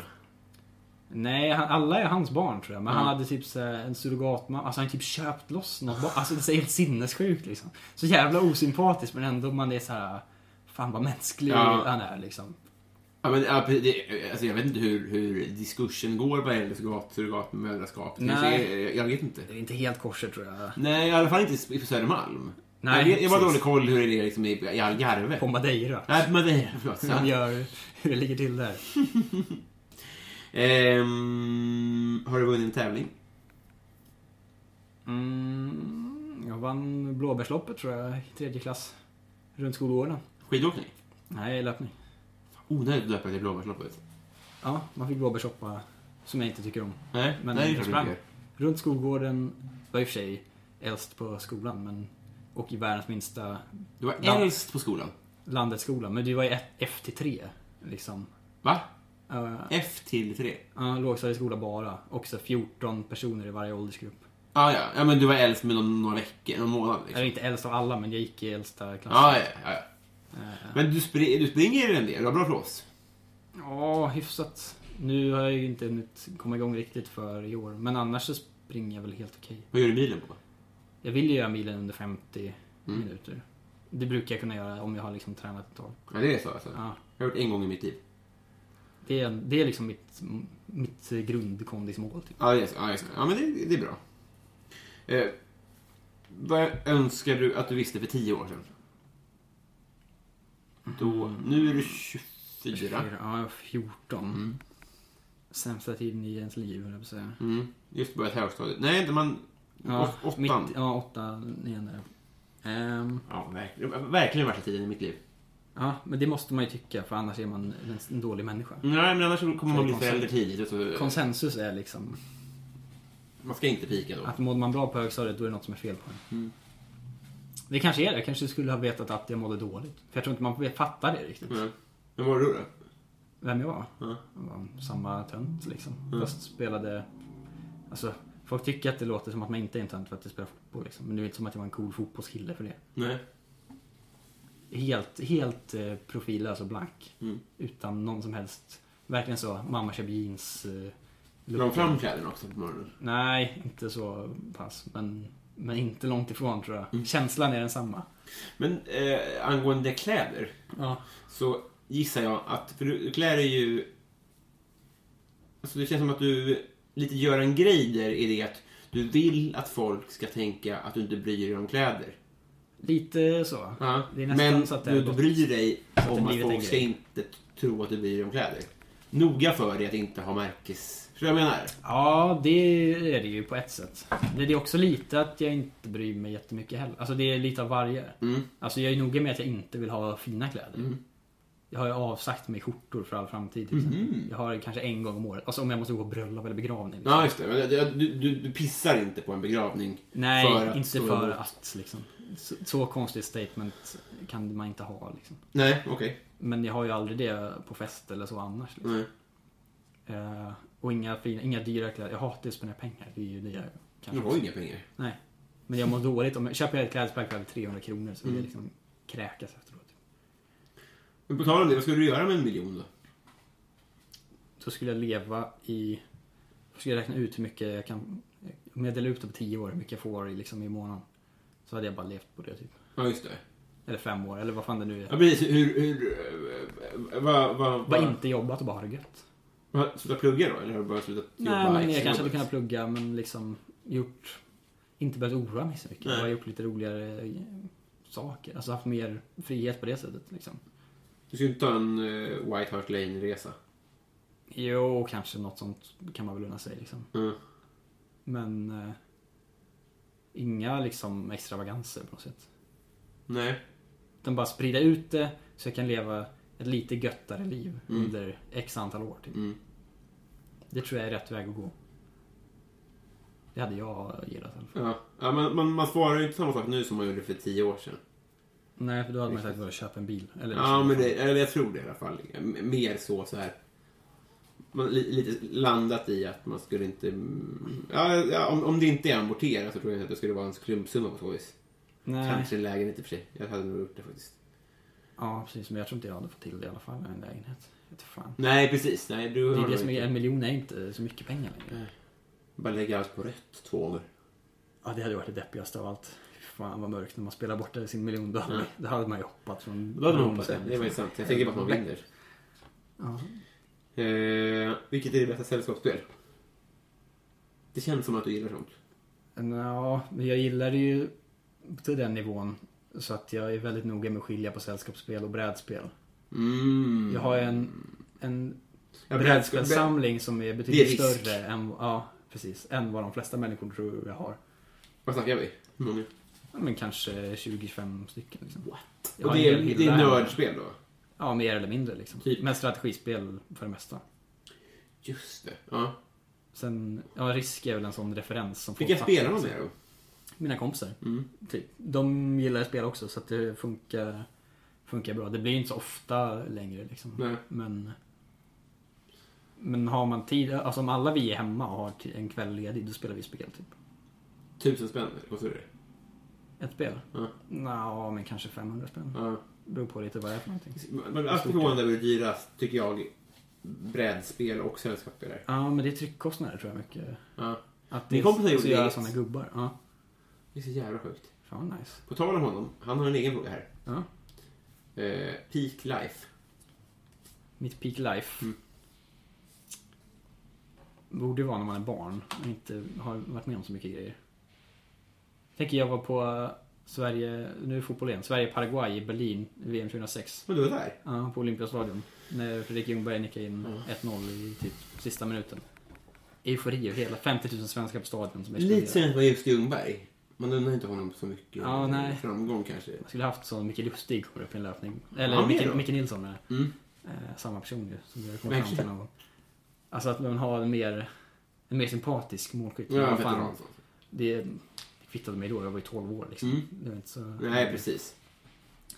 B: Nej, han, alla är hans barn tror jag. Men han hade typ så här, en surrogatmamma. Alltså han har typ köpt loss något barn. Alltså det är så helt sinnessjukt liksom. Så jävla osympatiskt men ändå man är så här. Fan vad mänsklig
A: Ja.
B: han är liksom.
A: Ja, men, ja, pre- det, alltså, jag vet inte hur, hur diskursen går vad gäller surrogat- surrogatmödraskap. Det kanske
B: Nej.
A: är- Jag, jag vet inte.
B: Det är inte helt korset tror jag.
A: Nej, i alla fall inte på Södermalm.
B: Nej,
A: jag, vet- jag har bara
B: precis.
A: dålig koll hur det är liksom, i, i Algarve.
B: På Madeira.
A: Nej, på Madeira. Förlåt.
B: Han gör hur det ligger till där.
A: Ehm, har du vunnit en tävling?
B: Mm, jag vann blåbärsloppet tror jag i tredje klass. Runt skolåren.
A: Skidåkning? Oh,
B: Nej, löpning.
A: Onödigt att döpa till blåbärsloppet.
B: Ja, man fick blåbärshoppa, som jag inte tycker om.
A: Nej,
B: Men
A: nej, det
B: jag
A: är
B: sprang
A: klart
B: runt skolgården, var i och för sig äldst på skolan, men och i världens minsta
A: Du var
B: Ja.
A: äldst på skolan.
B: landets skola. Men det var ju ett- F till tre, liksom.
A: Va?
B: Uh,
A: F till 3?
B: uh, lågstadieskola bara. Också 14 personer i varje åldersgrupp.
A: Ah, ja, ja, men du var äldst med någon, några veckor, någon månad
B: Jag
A: liksom.
B: är inte äldst av alla, men jag gick i äldsta klassen.
A: Ah, ja, ja, ja. Men du, spri- du springer en del, du har bra flås.
B: Ja, hyfsat. Nu har jag ju inte hunnit komma igång riktigt för i år, men annars så springer jag väl helt okej.
A: Vad gör du bilen på?
B: Jag vill ju göra milen under 50
A: Mm.
B: minuter. Det brukar jag kunna göra om jag har liksom tränat ett tag.
A: Ja, det är så alltså.
B: Ja.
A: Jag har gjort en gång i mitt liv.
B: Det är, det är liksom mitt, mitt grundkondismål. Typ.
A: Ja, det är så. Ja, det är så. ja men det, det är bra. Eh, vad önskar du att du visste för tio år sedan? Då, nu är du 24.
B: Ja, jag var 14. Sämsta tiden i ens liv, höll jag på att säga.
A: Mm. Just börjat högstadiet. Nej, inte man...
B: Ja,
A: åt-
B: mitt,
A: Åttan.
B: ja, åtta, nian där. Ehm,
A: Ja, verkligen, verkligen värsta tiden i mitt liv.
B: ja, men det måste man ju tycka, för annars är man en, en dålig människa.
A: Nej, men annars så kommer man bli
B: Konstigt.
A: förälder tidigt. och så-
B: Konsensus är liksom
A: Man ska inte pika då.
B: Att mådde man bra på högstadiet då är det något som är fel på en. Det kanske är det. Jag kanske skulle ha vetat att jag mådde dåligt. För jag tror inte man fattar det riktigt.
A: Mm. Men vad var du då?
B: Vem jag var. Jag var samma tönt liksom. Fast spelade... Alltså, folk tycker att det låter som att man inte är en tönt för att jag spelar fotboll. Liksom. Men det är inte som att jag var en cool fotbollskille för det.
A: Nej.
B: Helt, helt eh, profillös och blank. Utan någon som helst... Verkligen så, mamma köper jeans... Eh,
A: La de fram kläderna också på morgonen?
B: Nej, inte så pass. Men, men inte långt ifrån tror jag. Känslan är densamma.
A: Men eh, angående kläder
B: Ja.
A: så gissar jag att, för du, klär dig ju... Alltså det känns som att du lite gör en grej där i det att du vill att folk ska tänka att du inte bryr dig om kläder.
B: Lite så. Det är nästan
A: Men
B: så att det
A: du,
B: är
A: du
B: gott.
A: bryr dig
B: det
A: om att
B: blivit en
A: folk ska
B: grej.
A: inte t- tro att du bryr dig om kläder. Noga för dig att inte ha märkes... Förstår du vad jag menar?
B: Ja, det är det ju på ett sätt. Men det är också lite att jag inte bryr mig jättemycket heller. Alltså det är lite av varje.
A: Mm.
B: Alltså jag är noga med att jag inte vill ha fina kläder. Jag har ju avsagt mig skjortor för all framtid. till exempel. Jag har det kanske en gång om året. Alltså om jag måste gå på bröllop eller begravning. liksom.
A: Mm-hmm. Ja, just det. Men det- det- Du, du, du pissar inte på en begravning.
B: Nej,
A: för att
B: inte
A: stå
B: för
A: emot.
B: att liksom. Så, så konstigt statement kan man inte ha liksom.
A: Nej, okej.
B: Men jag har ju aldrig det på fest eller så annars. Liksom.
A: Nej.
B: Eh, och inga, fina, inga dyra kläder. Jag hatar ju att spendera pengar. Det är ju det jag
A: Du
B: kanske
A: har ju inga pengar.
B: Nej. Men jag mår dåligt. Om jag köper jag ett klädesplagg för över 300 kronor så vill jag liksom kräkas efteråt.
A: Men på tal om det, vad skulle du göra med en miljon då?
B: Så skulle jag leva i... Jag skulle räkna ut hur mycket jag kan... Om jag delar ut det på 10 år, hur mycket jag får i, liksom, i månaden. Så hade jag bara levt på det typ.
A: Ja, just det.
B: Eller fem år, eller vad fan det nu
A: Ja,
B: är.
A: precis. Hur... hur eh, vad... Vad...
B: Bara
A: vad
B: inte jobbat och bara ha det gött.
A: vad- Sluta plugga då? Eller har du bara slutat
B: Nej, men jag kanske hade
A: extrajobbet?
B: kunnat plugga men liksom gjort... Inte behövt oroa mig så mycket.
A: Nej.
B: Bara gjort lite roligare eh, saker. Alltså haft mer frihet på det sättet liksom.
A: Du skulle inte ta en eh, White Hart Lane-resa?
B: Jo, kanske något sånt kan man väl unna sig liksom.
A: Mm.
B: Men eh, inga liksom extravaganser på något sätt.
A: Nej.
B: Utan bara sprida ut det så jag kan leva ett lite göttare liv under x antal år. Typ.
A: Mm.
B: Det tror jag är rätt väg att gå. Det hade jag gillat i alla fall.
A: Ja. ja men man, man svarar ju inte samma sak nu som man gjorde för tio år sedan.
B: Nej, för då hade man sagt bara köpa en bil. Eller liksom-
A: Ja, men det, eller jag tror det i alla fall. M- Mer så, så här. Man, li, lite landat i att man skulle inte... mm, Ja, ja, om, om det inte är amorterat så tror jag inte att det skulle vara en klumpsumma på så vis.
B: Nej.
A: Kanske en lägenhet i och för sig. Jag hade nog gjort det faktiskt.
B: Ja, precis. Men jag tror inte jag hade fått till det i alla fall med en lägenhet. Jag vet fan.
A: Nej, precis. Nej, du
B: Det
A: har
B: är det
A: nog
B: som är,
A: inte-
B: en miljon är inte så mycket pengar längre.
A: Bara lägga allt på rätt två gånger.
B: Ja, det hade varit det deppigaste av allt. Fan vad mörkt när man spelar bort det sin miljon. Då hade, då hade man ju hoppat från...
A: Då hade man hoppat det. Det var ju sant. Jag tänker bara att man vinner. Eh, vilket är det bästa sällskapsspel? Det känns som att du gillar sånt.
B: liksom. Ja, men jag gillar det ju till den nivån. Så att jag är väldigt noga med att skilja på sällskapsspel och brädspel.
A: Mm.
B: Jag har en, en
A: Ja,
B: brädspelssamling som är
A: Det
B: betydligt
A: är risk.
B: större än, ja, precis, än vad de flesta människor tror jag har.
A: Vad snackar vi? Hur många?
B: ja, men kanske 20-25 stycken. Liksom.
A: What?
B: Ja,
A: Och det är,
B: hela-
A: det är
B: hela-
A: nördspel då?
B: Ja, mer eller mindre liksom.
A: Typ.
B: Men strategispel för det mesta.
A: Just det. Ja.
B: Sen, ja, risk är väl en sån referens som folk
A: Vilka
B: fattar,
A: spelar de Mm.
B: liksom.
A: med då?
B: Mina kompisar. Typ. De gillar att spela också så att det funkar, funkar bra. Det blir inte så ofta längre liksom.
A: Nej.
B: Men, men har man tid, alltså om alla vi är hemma och har ti- en kväll ledig, då spelar vi spel typ.
A: Tusen spänn, kostar det?
B: Ett spel?
A: Ja.
B: Nå, men kanske 500 spänn.
A: Ja.
B: Beror på lite vad det är för någonting.
A: Man blir alltid förvånad över hur dyra, tycker jag, brädspel och sällskapsspel är.
B: Ja, men det är tryckkostnader tror jag mycket.
A: Ja.
B: Att
A: Min
B: det-
A: kompis har gjort
B: att göra
A: eget.
B: sådana gubbar. Ja.
A: Det är så jävla sjukt.
B: Fan vad nice.
A: På tal om honom, han har en egen fråga här.
B: Ja.
A: Eh, peak Life.
B: Mitt peak life. Borde ju vara när man är barn och inte har varit med om så mycket grejer. Tänker jag var på eh, Sverige, nu är det fotboll igen, Sverige-Paraguay i Berlin VM 2006.
A: Men du var där?
B: Ja, på Olympiastadion. När Fredrik Ljungberg nickade in 1-0 i typ sista minuten. Eufori och hela 50 000 svenskar på stadion
A: Lite
B: som exploderade.
A: sent var just Ljungberg. Man undrar inte honom så mycket
B: Ja, nej.
A: framgång kanske.
B: Jag skulle haft så mycket Lustig kommer upp i en löpning. Eller
A: Han med
B: Micke,
A: då?
B: Micke Nilsson med.
A: Mm.
B: Eh, samma person ju. Som jag kom fram till
A: Verkligen.
B: någon gång. Alltså att man har en mer, en mer sympatisk målskytt.
A: Ja,
B: Vad
A: jag vet
B: fan,
A: inte vad han sa.
B: det kvittade mig då, jag var ju 12 år liksom.
A: Mm.
B: Det var inte så...
A: Nej, precis.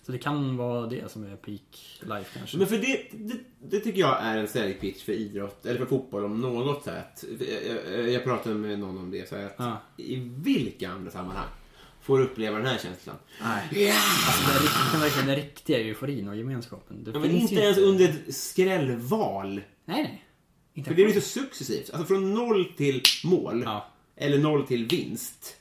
B: så det kan vara det som är peak life kanske.
A: Men för det, det, det tycker jag är en sälj pitch för idrott, eller för fotboll om något så här. att- jag- Jag, jag pratade med någon om det, så här att
B: Ja.
A: i vilka andra sammanhang får du uppleva den här känslan?
B: Nej. Alltså den, rikt- den, verkligen, den riktiga euforin och gemenskapen. Det
A: Ja, men
B: finns
A: inte
B: ju
A: ens under ett skrällval.
B: Nej, nej. Inte
A: För det blir så successivt. Alltså från noll till mål,
B: Ja.
A: eller noll till vinst.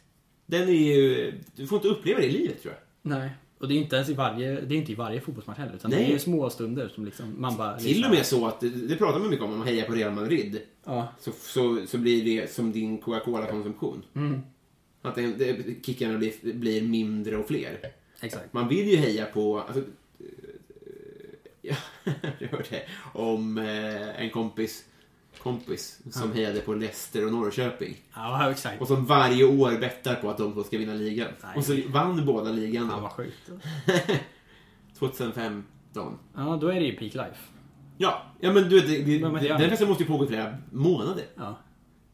A: Den är ju... Du får inte uppleva det i livet, tror jag.
B: Nej. Och det är inte ens i varje, det är inte i varje fotbollsmatch heller. Utan
A: Nej.
B: det är ju små stunder som liksom, man bara...
A: Till och med så att, det- det pratar man mycket om, om man hejar på Real Madrid.
B: Ja.
A: Så, så, så blir det som din Coca-Cola-konsumtion.
B: Mm.
A: Att det, det, kickarna blir, blir mindre och fler.
B: Exakt.
A: Man vill ju heja på... Alltså, eh, ja, [laughs] jag hörde om eh, en kompis, kompis som hejade på Leicester och Norrköping.
B: Ja, exakt.
A: Och som varje år bettar på att de två ska vinna ligan.
B: Nej.
A: Och så vann båda ligan
B: Fan
A: då.
B: vad sjukt.
A: 2015.
B: Ja, då är det ju peak life.
A: Ja, ja men du vet, det, det,
B: Men man gör
A: den
B: det.
A: festen måste ju pågå i flera månader.
B: Ja.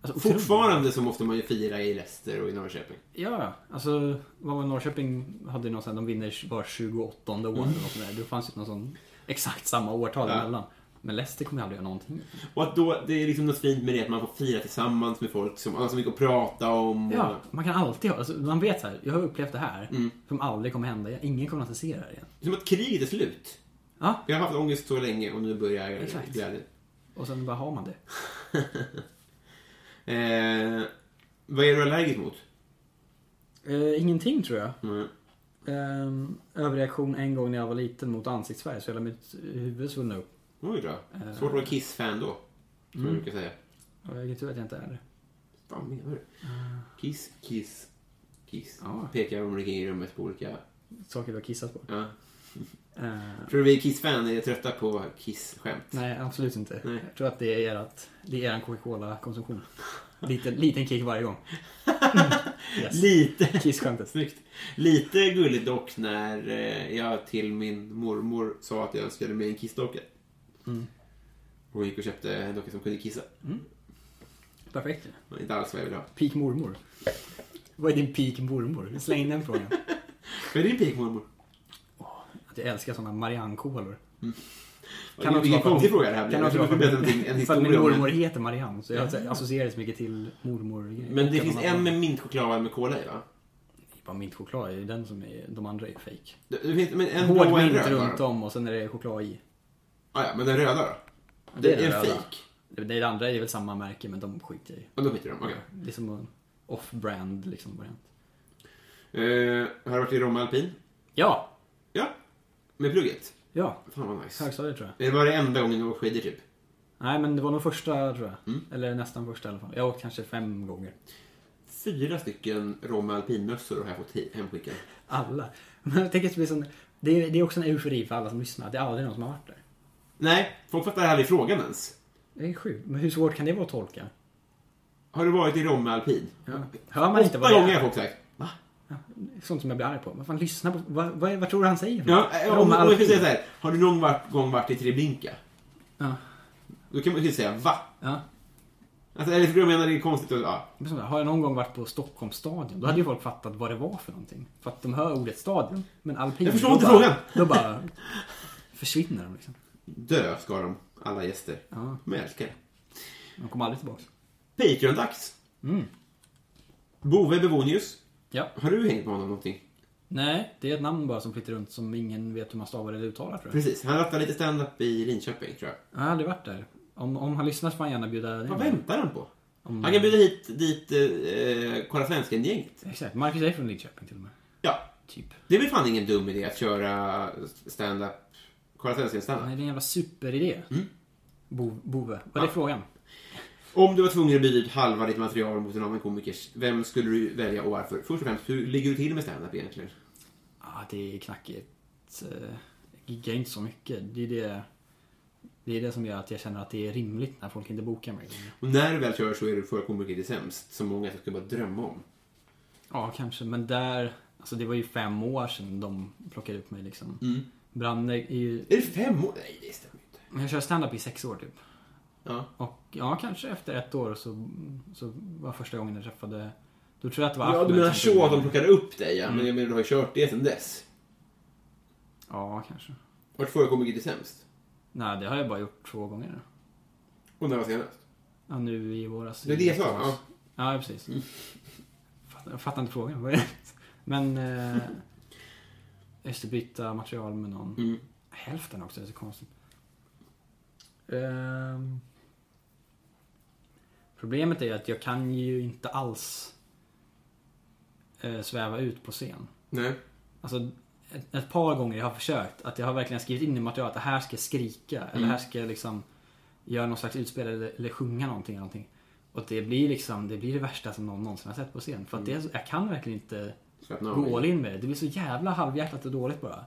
B: Alltså,
A: Fortfarande så måste man ju fira i Leicester och i Norrköping.
B: Ja, alltså vad var Norrköping hade ju någon sån här, de vinner var 28 år eller något sånt där. Det fanns ju någon sån exakt samma årtal
A: Mm. Ja.
B: emellan. Men Leicester kommer ju aldrig göra någonting.
A: Och att då, det är liksom något fint med det att man får fira tillsammans med folk som alltså, man har så mycket att prata om.
B: Ja,
A: Och,
B: man kan alltid ha, alltså, man vet så här, jag har upplevt det här
A: Mm.
B: som aldrig kommer hända igen. Ingen kommer att se det här igen.
A: det är som att kriget är slut.
B: Ja,
A: Jag har haft ångest så länge och nu börjar
B: Exakt.
A: glädjen.
B: och sen bara har man det.
A: Eh, vad är du allergisk mot?
B: Eh, ingenting tror jag.
A: Mm.
B: Ehm, överreaktion en gång när jag var liten mot ansiktsfärg så hela mitt huvud svullnade upp.
A: Oj då.
B: Eh.
A: Svårt att vara Kiss-fan då. Som
B: Mm.
A: jag brukar säga.
B: Och jag tror att jag inte är det.
A: Vad menar du? Kiss, kiss, kiss.
B: Eh. Ja.
A: Pekar omkring i rummet på olika...
B: Saker du har kissat på.
A: Ja.
B: Ehm,
A: Tror du vi Kiss-fan är trötta på Kiss-skämt?
B: Nej, [laughs] absolut inte.
A: Nej.
B: Jag tror att det är ert, det är er Coca-Cola-konsumtion. Liten, liten kick varje gång. Yes.
A: Lite.
B: Kissskämtet.
A: Snyggt. Lite gulligt dock när eh, jag till min mormor sa att jag önskade mig en kissdocka.
B: Mm.
A: Hon gick och köpte en docka som kunde kissa.
B: Perfekt.
A: Men inte alls vad jag ville ha.
B: Peak mormor. Vad är din peak mormor? Släng in den frågan.
A: Vad är din pik mormor?
B: Att jag älskar sådana Marianne-kolor.
A: Kan Vilken
B: för-
A: konstig fråga det här
B: kan
A: blev. Jag
B: också
A: trodde
B: vara
A: du skulle berätta någonting- en
B: för, för att min
A: historia om
B: mormor
A: en.
B: heter Marianne, så jag associerar så mycket till mormor
A: Men det finns en med mintchoklad och en med kola i va?
B: Bara mintchoklad är ju den som är... De andra är fake.
A: Det det finns men en blå
B: Hård
A: och en
B: mint
A: röd va?
B: runt om och sen är det choklad i.
A: Ah, ja, men den röda då?
B: Ja,
A: Det
B: den
A: är en
B: röda.
A: fik.
B: Det, det andra är väl samma märke, men de skiter jag i.
A: Och då skiter de, okej.
B: Det är som en off-brand liksom variant.
A: Eh, har du varit i Romme Alpin?
B: Ja!
A: Ja. Med plugget?
B: Ja,
A: Fan vad nice.
B: högstadiet tror jag.
A: Det var det enda gången du åkte skidor typ.
B: Nej, men det var nog första tror jag.
A: Mm.
B: Eller nästan första i alla fall. Jag har åkt kanske fem gånger.
A: Fyra stycken Romme Alpin-mössor har jag fått he- hemskickade.
B: Alla. [laughs] Men jag tänker att det blir sån... Det är, det är också en eufori för alla som lyssnar. Det är aldrig någon som har varit där.
A: Nej, folk fattar aldrig frågan ens.
B: Det är sjukt. Men hur svårt kan det vara att tolka?
A: Har du varit i Romme Alpin?
B: Hör man inte
A: Åtta
B: vad det
A: gånger har
B: är?
A: folk sagt. Va?
B: Sånt som jag blir arg på. Vad fan, lyssna på... Vad, vad, vad tror du han säger?
A: Ja, eh,
B: Om
A: om, om man
B: alpin.
A: kan säga så här, har du någon var- gång varit i Treblinka?
B: Ja.
A: Då kan man ju säga va?
B: Ja.
A: Alltså, eller för jag menar det är konstigt att... Ja.
B: Det är som det här, Har jag någon gång varit på Stockholms stadion? Då hade ju folk fattat vad det var för någonting. För att de hör ordet stadion. Men alpin...
A: Jag förstår
B: då
A: inte
B: bara-
A: frågan.
B: Då bara... Försvinner de liksom.
A: Dö ska de, alla gäster.
B: Ja.
A: Men jag älskar det.
B: De kommer aldrig tillbaka.
A: Patreon-dags.
B: Mm.
A: Bove Bevonius.
B: Ja.
A: Har du hängt på honom någonting?
B: Nej, det är ett namn bara som flyttar runt som ingen vet hur man stavar eller uttalar tror jag.
A: Precis, han rattar lite stand-up i Linköping tror jag.
B: Jag har aldrig varit där. Om, om han lyssnar så får han gärna bjuda in
A: Vad
B: mig.
A: väntar han på?
B: Om-
A: Han kan bjuda hit dit eh, Kolla Svensken-gänget.
B: Exakt. Marcus är från Linköping till och med.
A: Ja,
B: Typ.
A: det är väl fan ingen dum idé att köra stand-up, Kolla Svensken-standup.
B: Nej, det är en jävla superidé. Bo, bove. Vad är
A: Ja.
B: frågan?
A: Om du var tvungen att byta ut halva ditt material mot en annan komiker, vem skulle du välja och varför? Först och främst, hur ligger du till med stand-up egentligen?
B: Ja, det är knackigt. Eh, Jag giggar inte så mycket. Det är det, det är det som gör att jag känner att det är rimligt när folk inte bokar mig.
A: Och när du väl kör så är du för komiker till sämst, som många skulle bara drömma om.
B: Ja, kanske. Men där... Alltså det var ju fem år sedan de plockade upp mig liksom. Branne är ju...
A: Är det fem år? Nej, det stämmer ju inte.
B: Jag kör stand-up i sex år typ.
A: Ja.
B: Och ja, kanske efter ett år så, så var första gången jag träffade... Då tror jag att det var
A: ja, du Mm.
B: Ahmed
A: menar
B: som-
A: så att de plockade upp dig, ja. Men jag menar, du har ju kört det sedan dess.
B: Ja, kanske.
A: Vart får jag komiker till sämst?
B: Nej, det har jag bara gjort två gånger.
A: Och när var senast?
B: Ja, nu i våras.
A: Det är det jag sa, ja. Mm.
B: Ja, precis. Fattar, jag fattar inte frågan. vad är det? Men... Eh, just att byta material med någon.
A: Mm.
B: Hälften också, det är så konstigt. Ehm, problemet är ju att jag kan ju inte alls eh, sväva ut på scen.
A: Nej.
B: Alltså, ett, ett par gånger jag har försökt. Att jag har verkligen skrivit in i materialet att här ska jag skrika.
A: Mm.
B: Eller här ska jag liksom göra någon slags utspel eller, eller sjunga någonting, eller någonting. Och det blir liksom, det blir det värsta som någon någonsin har sett på scen. För att det är så, jag kan verkligen inte
A: Slappna Mm. av. Mm.
B: gå all in med det. Det blir så jävla halvhjärtat och dåligt bara.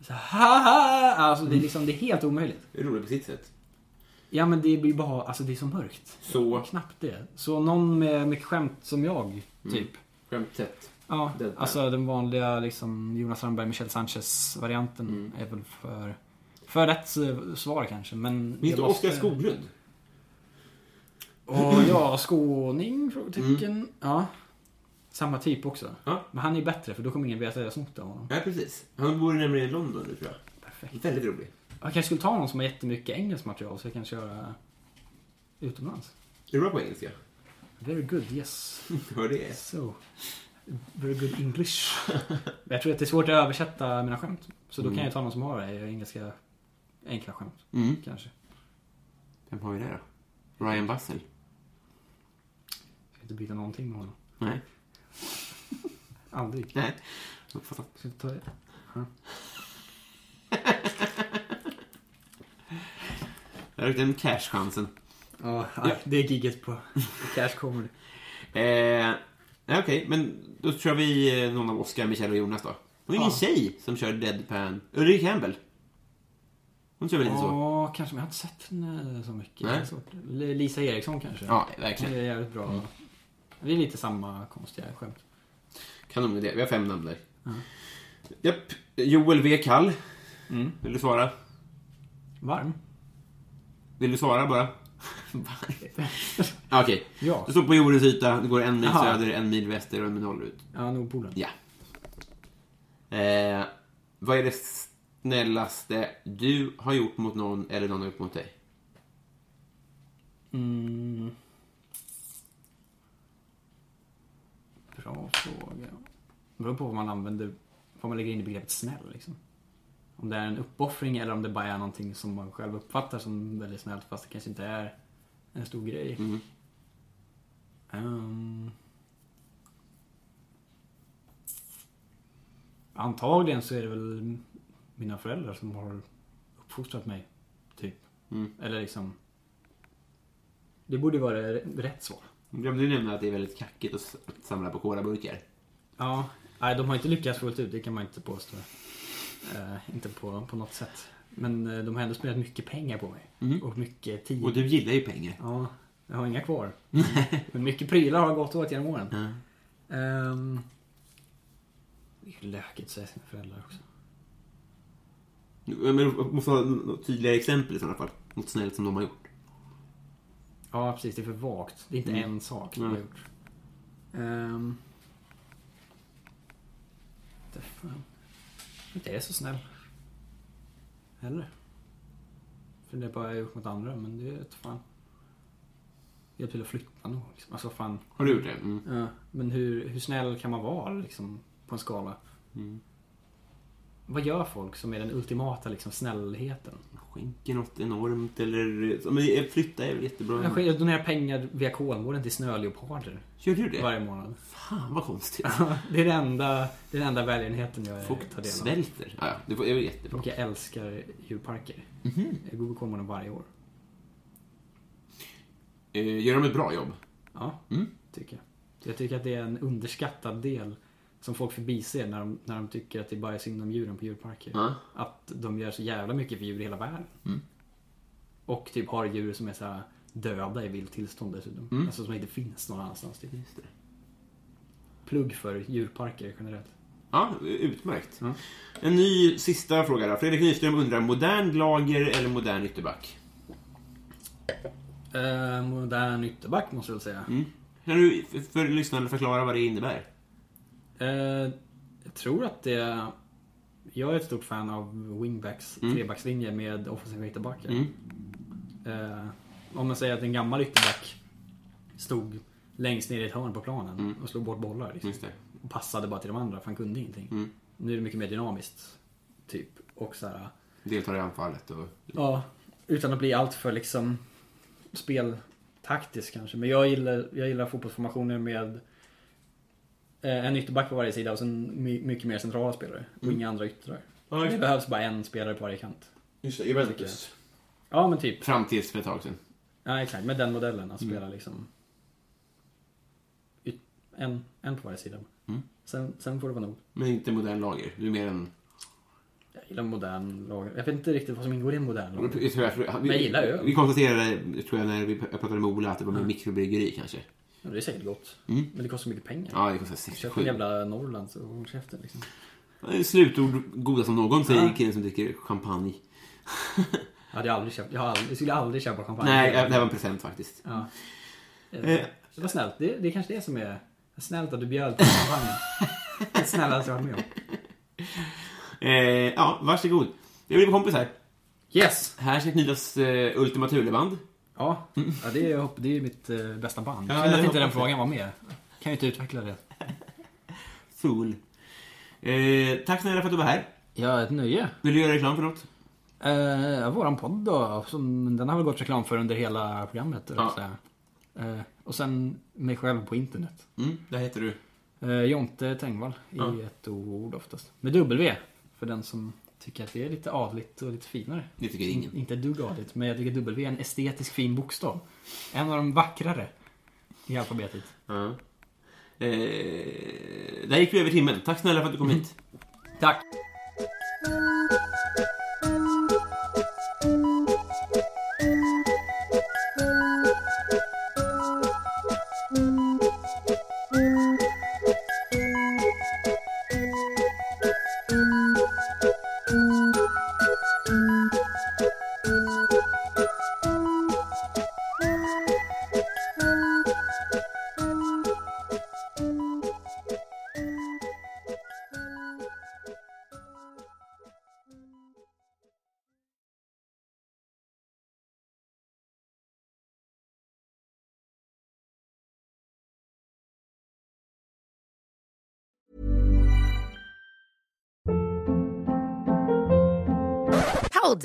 B: Så, haha! Alltså det är liksom, det är helt omöjligt.
A: Det är roligt på sitt sätt.
B: Ja men det blir bara, alltså det är så mörkt.
A: Så,
B: Knappt det. Så någon med mycket skämt som jag,
A: Mm.
B: typ.
A: skämt tätt.
B: Ja,
A: Deadpan.
B: alltså den vanliga liksom, Jonas Strandberg, Michel Sanchez-varianten
A: Mm.
B: är väl för, för rätt eh, svar kanske. Men
A: Minns
B: jag
A: du
B: måste-
A: Oskar Skoglund?
B: Och ja, skåning? Frågetecken. Ja. Samma typ också.
A: Mm. Ja.
B: Men han är bättre för då kommer ingen veta att jag snott av honom.
A: Ja, precis. Han bor nämligen i London nu, tror jag.
B: Perfekt.
A: Väldigt rolig.
B: Jag kanske skulle ta någon som har jättemycket engelskt material så jag kan köra utomlands.
A: Är du bra på engelska? [laughs]
B: Very good, yes.
A: Hör det?
B: So. Very good English. jag tror att det är svårt att översätta mina skämt. Så då kan jag ta någon som har det. Jag har engelska enkla skämt.
A: Mm.
B: Kanske.
A: Vem har vi där då? Ryan Bussell?
B: Ska inte byta någonting med honom.
A: Nej.
B: Aldrig.
A: Nej. Jag fattar.
B: Ska inte ta det.
A: Där är den cash-chansen.
B: Ja, ja, det är gigget på Cash Comedy.
A: Eh, nej, Okej, men då kör vi eh, någon av Oscar, Michel och Jonas då. Det var ingen
B: Ja.
A: tjej som kör deadpan. Ulrika Campbell. Hon kör väl lite så?
B: Ja, kanske. Men jag har inte sett henne så mycket.
A: Nej.
B: Det är svårt. L- Lisa Eriksson kanske.
A: Ja,
B: Det är
A: verkligen.
B: jävligt bra. Det är lite samma konstiga skämt.
A: Kanon idé. Vi har fem namn där. Japp. Joel V. Kall.
B: Mm.
A: Vill du svara?
B: Varm?
A: Vill du svara bara? Ja, [laughs] Okej.
B: Ja.
A: Du står på jordens yta, du går en mil
B: Aha.
A: söder, en mil väster och en mil norrut.
B: Ja, Nordpolen.
A: Ja. Eh, vad är det snällaste du har gjort mot någon eller någon har gjort mot dig?
B: Mm. Bra fråga. Det beror på vad man använder, vad man lägger in i begreppet snäll liksom. Om det är en uppoffring eller om det bara är någonting som man själv uppfattar som väldigt snällt fast det kanske inte är en stor grej. Ehm. Antagligen så är det väl mina föräldrar som har uppfostrat mig. Typ. Eller liksom. Det borde vara r- rätt svar.
A: Jag glömde nämna att det är väldigt kackigt att s- att samla på kolaburkar.
B: Ja. Nej, de har inte lyckats fullt ut, det kan man inte påstå. Eh, inte på, på något sätt. Men eh, de har ändå spenderat mycket pengar på mig. Mm. Och mycket tid.
A: Och du gillar ju pengar.
B: Ja, jag har [laughs] inga kvar. Men mycket prylar har gått åt genom åren. Ehm, Det är ju lökigt att säga sina föräldrar också.
A: Men du måste ha något tydligare exempel i sådana fall. Något snällt som de har gjort.
B: Ja, precis. Det är för vagt. Det är inte en sak de har
A: Nej.
B: gjort. Um, det fan. Inte är så snäll. Heller. För det är bara jag har gjort mot andra, men det är ett fan. Hjälp till att flytta nog. Liksom. Alltså fan.
A: Har du gjort det? Mm.
B: Ja, men hur, hur snäll kan man vara liksom, på en skala? Vad gör folk som är den ultimata liksom, snällheten?
A: Skänker något enormt eller... ja, Men eh, flytta är väl jättebra.
B: Jag sk- Jag donerar pengar via Kolmården till snöleoparder
A: Gör du det?
B: varje månad.
A: Fan vad konstigt.
B: Det är den enda, det är den enda välgörenheten jag tar
A: Folk
B: del av.
A: svälter. Ja, ja, det var- det är väl jättebra.
B: Och jag älskar djurparker. Jag går på Kolmården varje år.
A: Eh, Gör de ett bra jobb?
B: Ja, tycker jag. Jag tycker att det är en underskattad del som folk förbiser när de, när de tycker att det bara är synd om djuren på djurparker.
A: Ja.
B: Att de gör så jävla mycket för djur i hela världen. Och typ har djur som är så här döda i vilt tillstånd dessutom. Alltså som inte finns någon annanstans. Typ.
A: Just det.
B: Plugg för djurparker generellt.
A: Ja, utmärkt. En ny sista fråga då. Fredrik Nyström undrar, modern lager eller modern ytterback?
B: Eh, modern ytterback måste jag väl säga.
A: Mm. Kan du för- för lyssnarna förklara vad det innebär?
B: Eh, jag tror att det... Jag är ett stort fan av wingbacks, trebackslinje med offensiva ytterbackar.
A: Mm.
B: Eh, om man säger att en gammal ytterback stod längst ner i ett hörn på planen och slog bort bollar. Liksom.
A: Just det.
B: Och passade bara till de andra, för han kunde ingenting. Nu är det mycket mer dynamiskt. Typ. Och så här,
A: Deltar i anfallet och...
B: Ja, utan att bli alltför liksom speltaktisk kanske. Men jag gillar, jag gillar fotbollsformationer med eh, en ytterback på varje sida och sen my, mycket mer centrala spelare och inga andra yttrar. det behövs bara en spelare på varje kant.
A: Just det, Juventus.
B: Ja, men typ.
A: Fram tills för ett tag sedan.
B: Ja, exakt. Med den modellen att spela liksom yt- en, en på varje sida. Sen, sen får det vara nog.
A: Men inte modern lager. Du är mer en...
B: Jag gillar modern lag. Jag vet inte riktigt vad som ingår i en modern lag.
A: Jag tror jag, vi,
B: Men jag gillar öl.
A: Vi konstaterade, tror jag, när vi pratade med Ola att det var mer mikrobryggeri kanske.
B: Ja, det är säkert gott. Men det kostar mycket pengar.
A: Ja, det kostar
B: Köp en
A: 67.
B: jävla Norrland så håll käften liksom.
A: Eh, Slutord goda som någon, säger killen som dricker champagne.
B: Jag, hade aldrig köpt, jag, har aldrig, jag skulle aldrig köpa champagne.
A: Nej, det här var en present faktiskt.
B: Eh, Det var snällt. Det, det är kanske det som är snällt att du bjöd på champagne. det snällaste jag varit med om.
A: Eh, ja, varsågod. Jag blir kompisar.
B: Yes!
A: Här ska knytas eh, Ultima Thule-band.
B: Ja, ja det, är, jag hopp- det är mitt eh, bästa band.
A: Ja,
B: Synd att
A: jag
B: inte den
A: hoppas det.
B: frågan var med. Kan ju inte utveckla det.
A: Fool. Eh, tack snälla för att du var här.
B: Ja, ett nöje.
A: Vill du göra reklam för något?
B: Eh, våran podd då, som, den har väl gått reklam för under hela programmet.
A: Ja.
B: Ja. Så eh, och sen mig själv på internet.
A: Mm, där heter du.
B: Eh, Jonte Tengvall i ett ord oftast. Med W. För den som tycker att det är lite adligt och lite finare.
A: Det tycker ingen.
B: Inte ett dugg adligt, men jag tycker W är en estetisk fin bokstav. En av de vackrare i alfabetet.
A: Ja. Eh, där gick vi över timmen. Tack snälla för att du kom hit.
B: Tack!
C: Hold